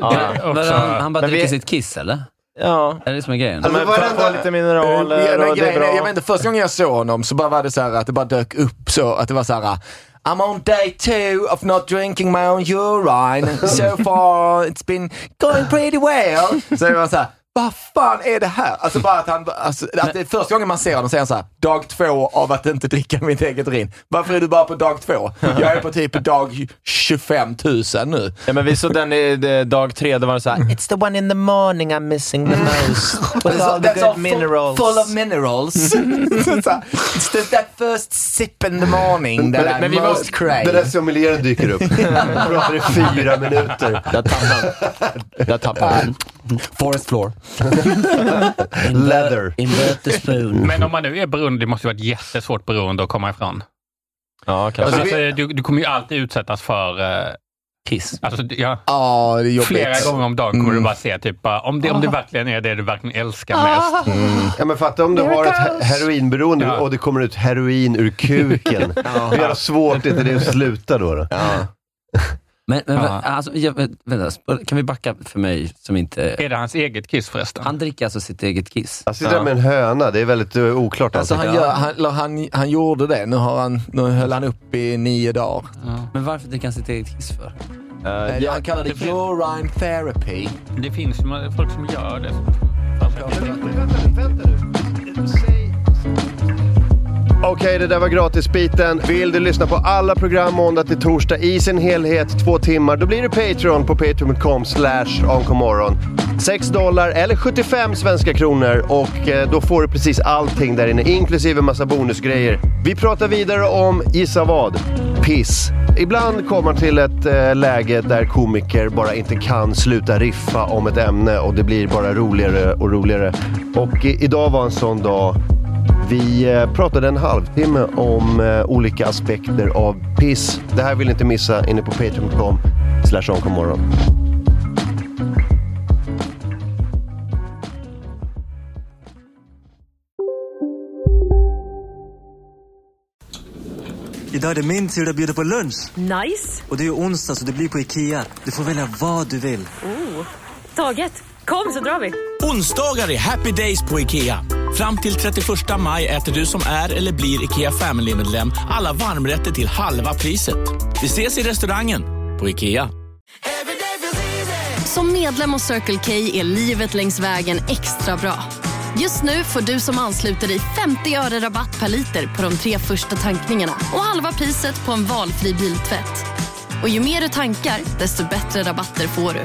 S3: Men han, han bara
S4: Men vi-
S3: dricker sitt kiss, eller?
S4: Ja.
S3: Är det som är grejen?
S4: Alltså, Men varenda- får lite mineraler
S2: Ja, men
S4: och det är
S2: Eh, grejen är,
S4: bra.
S2: jag vet inte, första gången jag såg honom så bara var det så här att det bara dök upp så att det var så här I'm on day two of not drinking my own urine.
S4: [LAUGHS]
S2: So far it's been going pretty well. Så det var så här, vad fan är det här? Alltså bara att han, alltså, att det är första gången man ser honom säger han så här, dag två av att inte dricka mitt eget urin. Varför är du bara på dag två? Jag är på typ dag 25 000 nu.
S4: Ja, men vi såg den i det, dag tre, då var det så här.
S16: It's the one in the morning I'm missing
S2: [LAUGHS]
S16: the most.
S2: Alltså,
S16: With all the
S2: That's all
S16: good
S2: full-
S16: minerals.
S2: Full of minerals. [LAUGHS] Mm. Så- så här, It's the, that first sip in the morning that I most crave.
S1: Den där sommelieren dyker
S4: [LAUGHS]
S1: upp. Han pratar i fyra minuter.
S4: Jag tappade Jag tappade
S2: Forest floor.
S1: Leather.
S5: Invert the spoon. Men om man nu är beroende, det måste ju vara ett jättesvårt beroende att komma ifrån.
S4: Ja,
S5: Alltså,
S2: kanske.
S5: du, du kommer ju alltid utsättas för... eh,
S3: Kiss.
S5: Alltså, d- ja.
S2: Ja, det är jobbigt.
S5: Flera gånger om dagen kommer
S2: Mm.
S5: du bara se typ, bara, om, det, om det verkligen är det du verkligen älskar mest.
S1: Ja, men fatta om du
S5: There
S1: har
S5: it
S1: ett he-
S5: goes.
S1: heroinberoende
S5: Ja.
S1: och det kommer ut heroin ur
S2: [LAUGHS]
S1: kuken.
S3: Ja.
S1: Hur jävla svårt är inte det att sluta då? då?
S3: Men, men
S1: Ja.
S3: alltså, jag, vänta, sp- kan vi backa för mig som inte...
S5: Är det hans eget kiss förresten?
S3: Han dricker alltså sitt eget kiss.
S1: Han sitter där med en höna, det är väldigt eh, oklart.
S2: Alltså han, gör, han, eller han, han gjorde det, nu, har han, nu höll han upp i nio dagar.
S3: Men varför dricker han sitt eget kiss för?
S2: Eh, han kallar det urine therapy.
S5: Det finns ju folk som gör det.
S1: Okej, det där var gratisbiten. Vill du lyssna på alla program måndag till torsdag i sin helhet, två timmar, då blir det Patreon på patreon.com slash onkomorron. 6 dollar eller 75 svenska kronor och eh, då får du precis allting där inne, inklusive massa bonusgrejer. Vi pratar vidare om, gissa vad? Piss. Ibland kommer man till ett eh, läge där komiker bara inte kan sluta riffa om ett ämne och det blir bara roligare och roligare. Och i- idag var en sån dag vi eh, pratade en halvtimme om eh, olika aspekter av piss. Det här vill ni inte missa inne på patreon.com slash onkomorgon.
S18: Idag är det min tur att bjuda på lunch.
S19: Nice.
S18: Och det är ju onsdag så det blir på IKEA. Du får välja vad du vill.
S19: Oh. Taget. Kom så drar vi.
S20: Onsdagar är happy days på IKEA. Fram till 31 maj äter du som är eller blir IKEA Family-medlem alla varmrätter till halva priset. Vi ses i restaurangen på IKEA.
S21: Som medlem hos Circle K är livet längs vägen extra bra. Just nu får du som ansluter dig 50 öre rabatt per liter på de tre första tankningarna och halva priset på en valfri biltvätt. Och ju mer du tankar, desto bättre rabatter får du.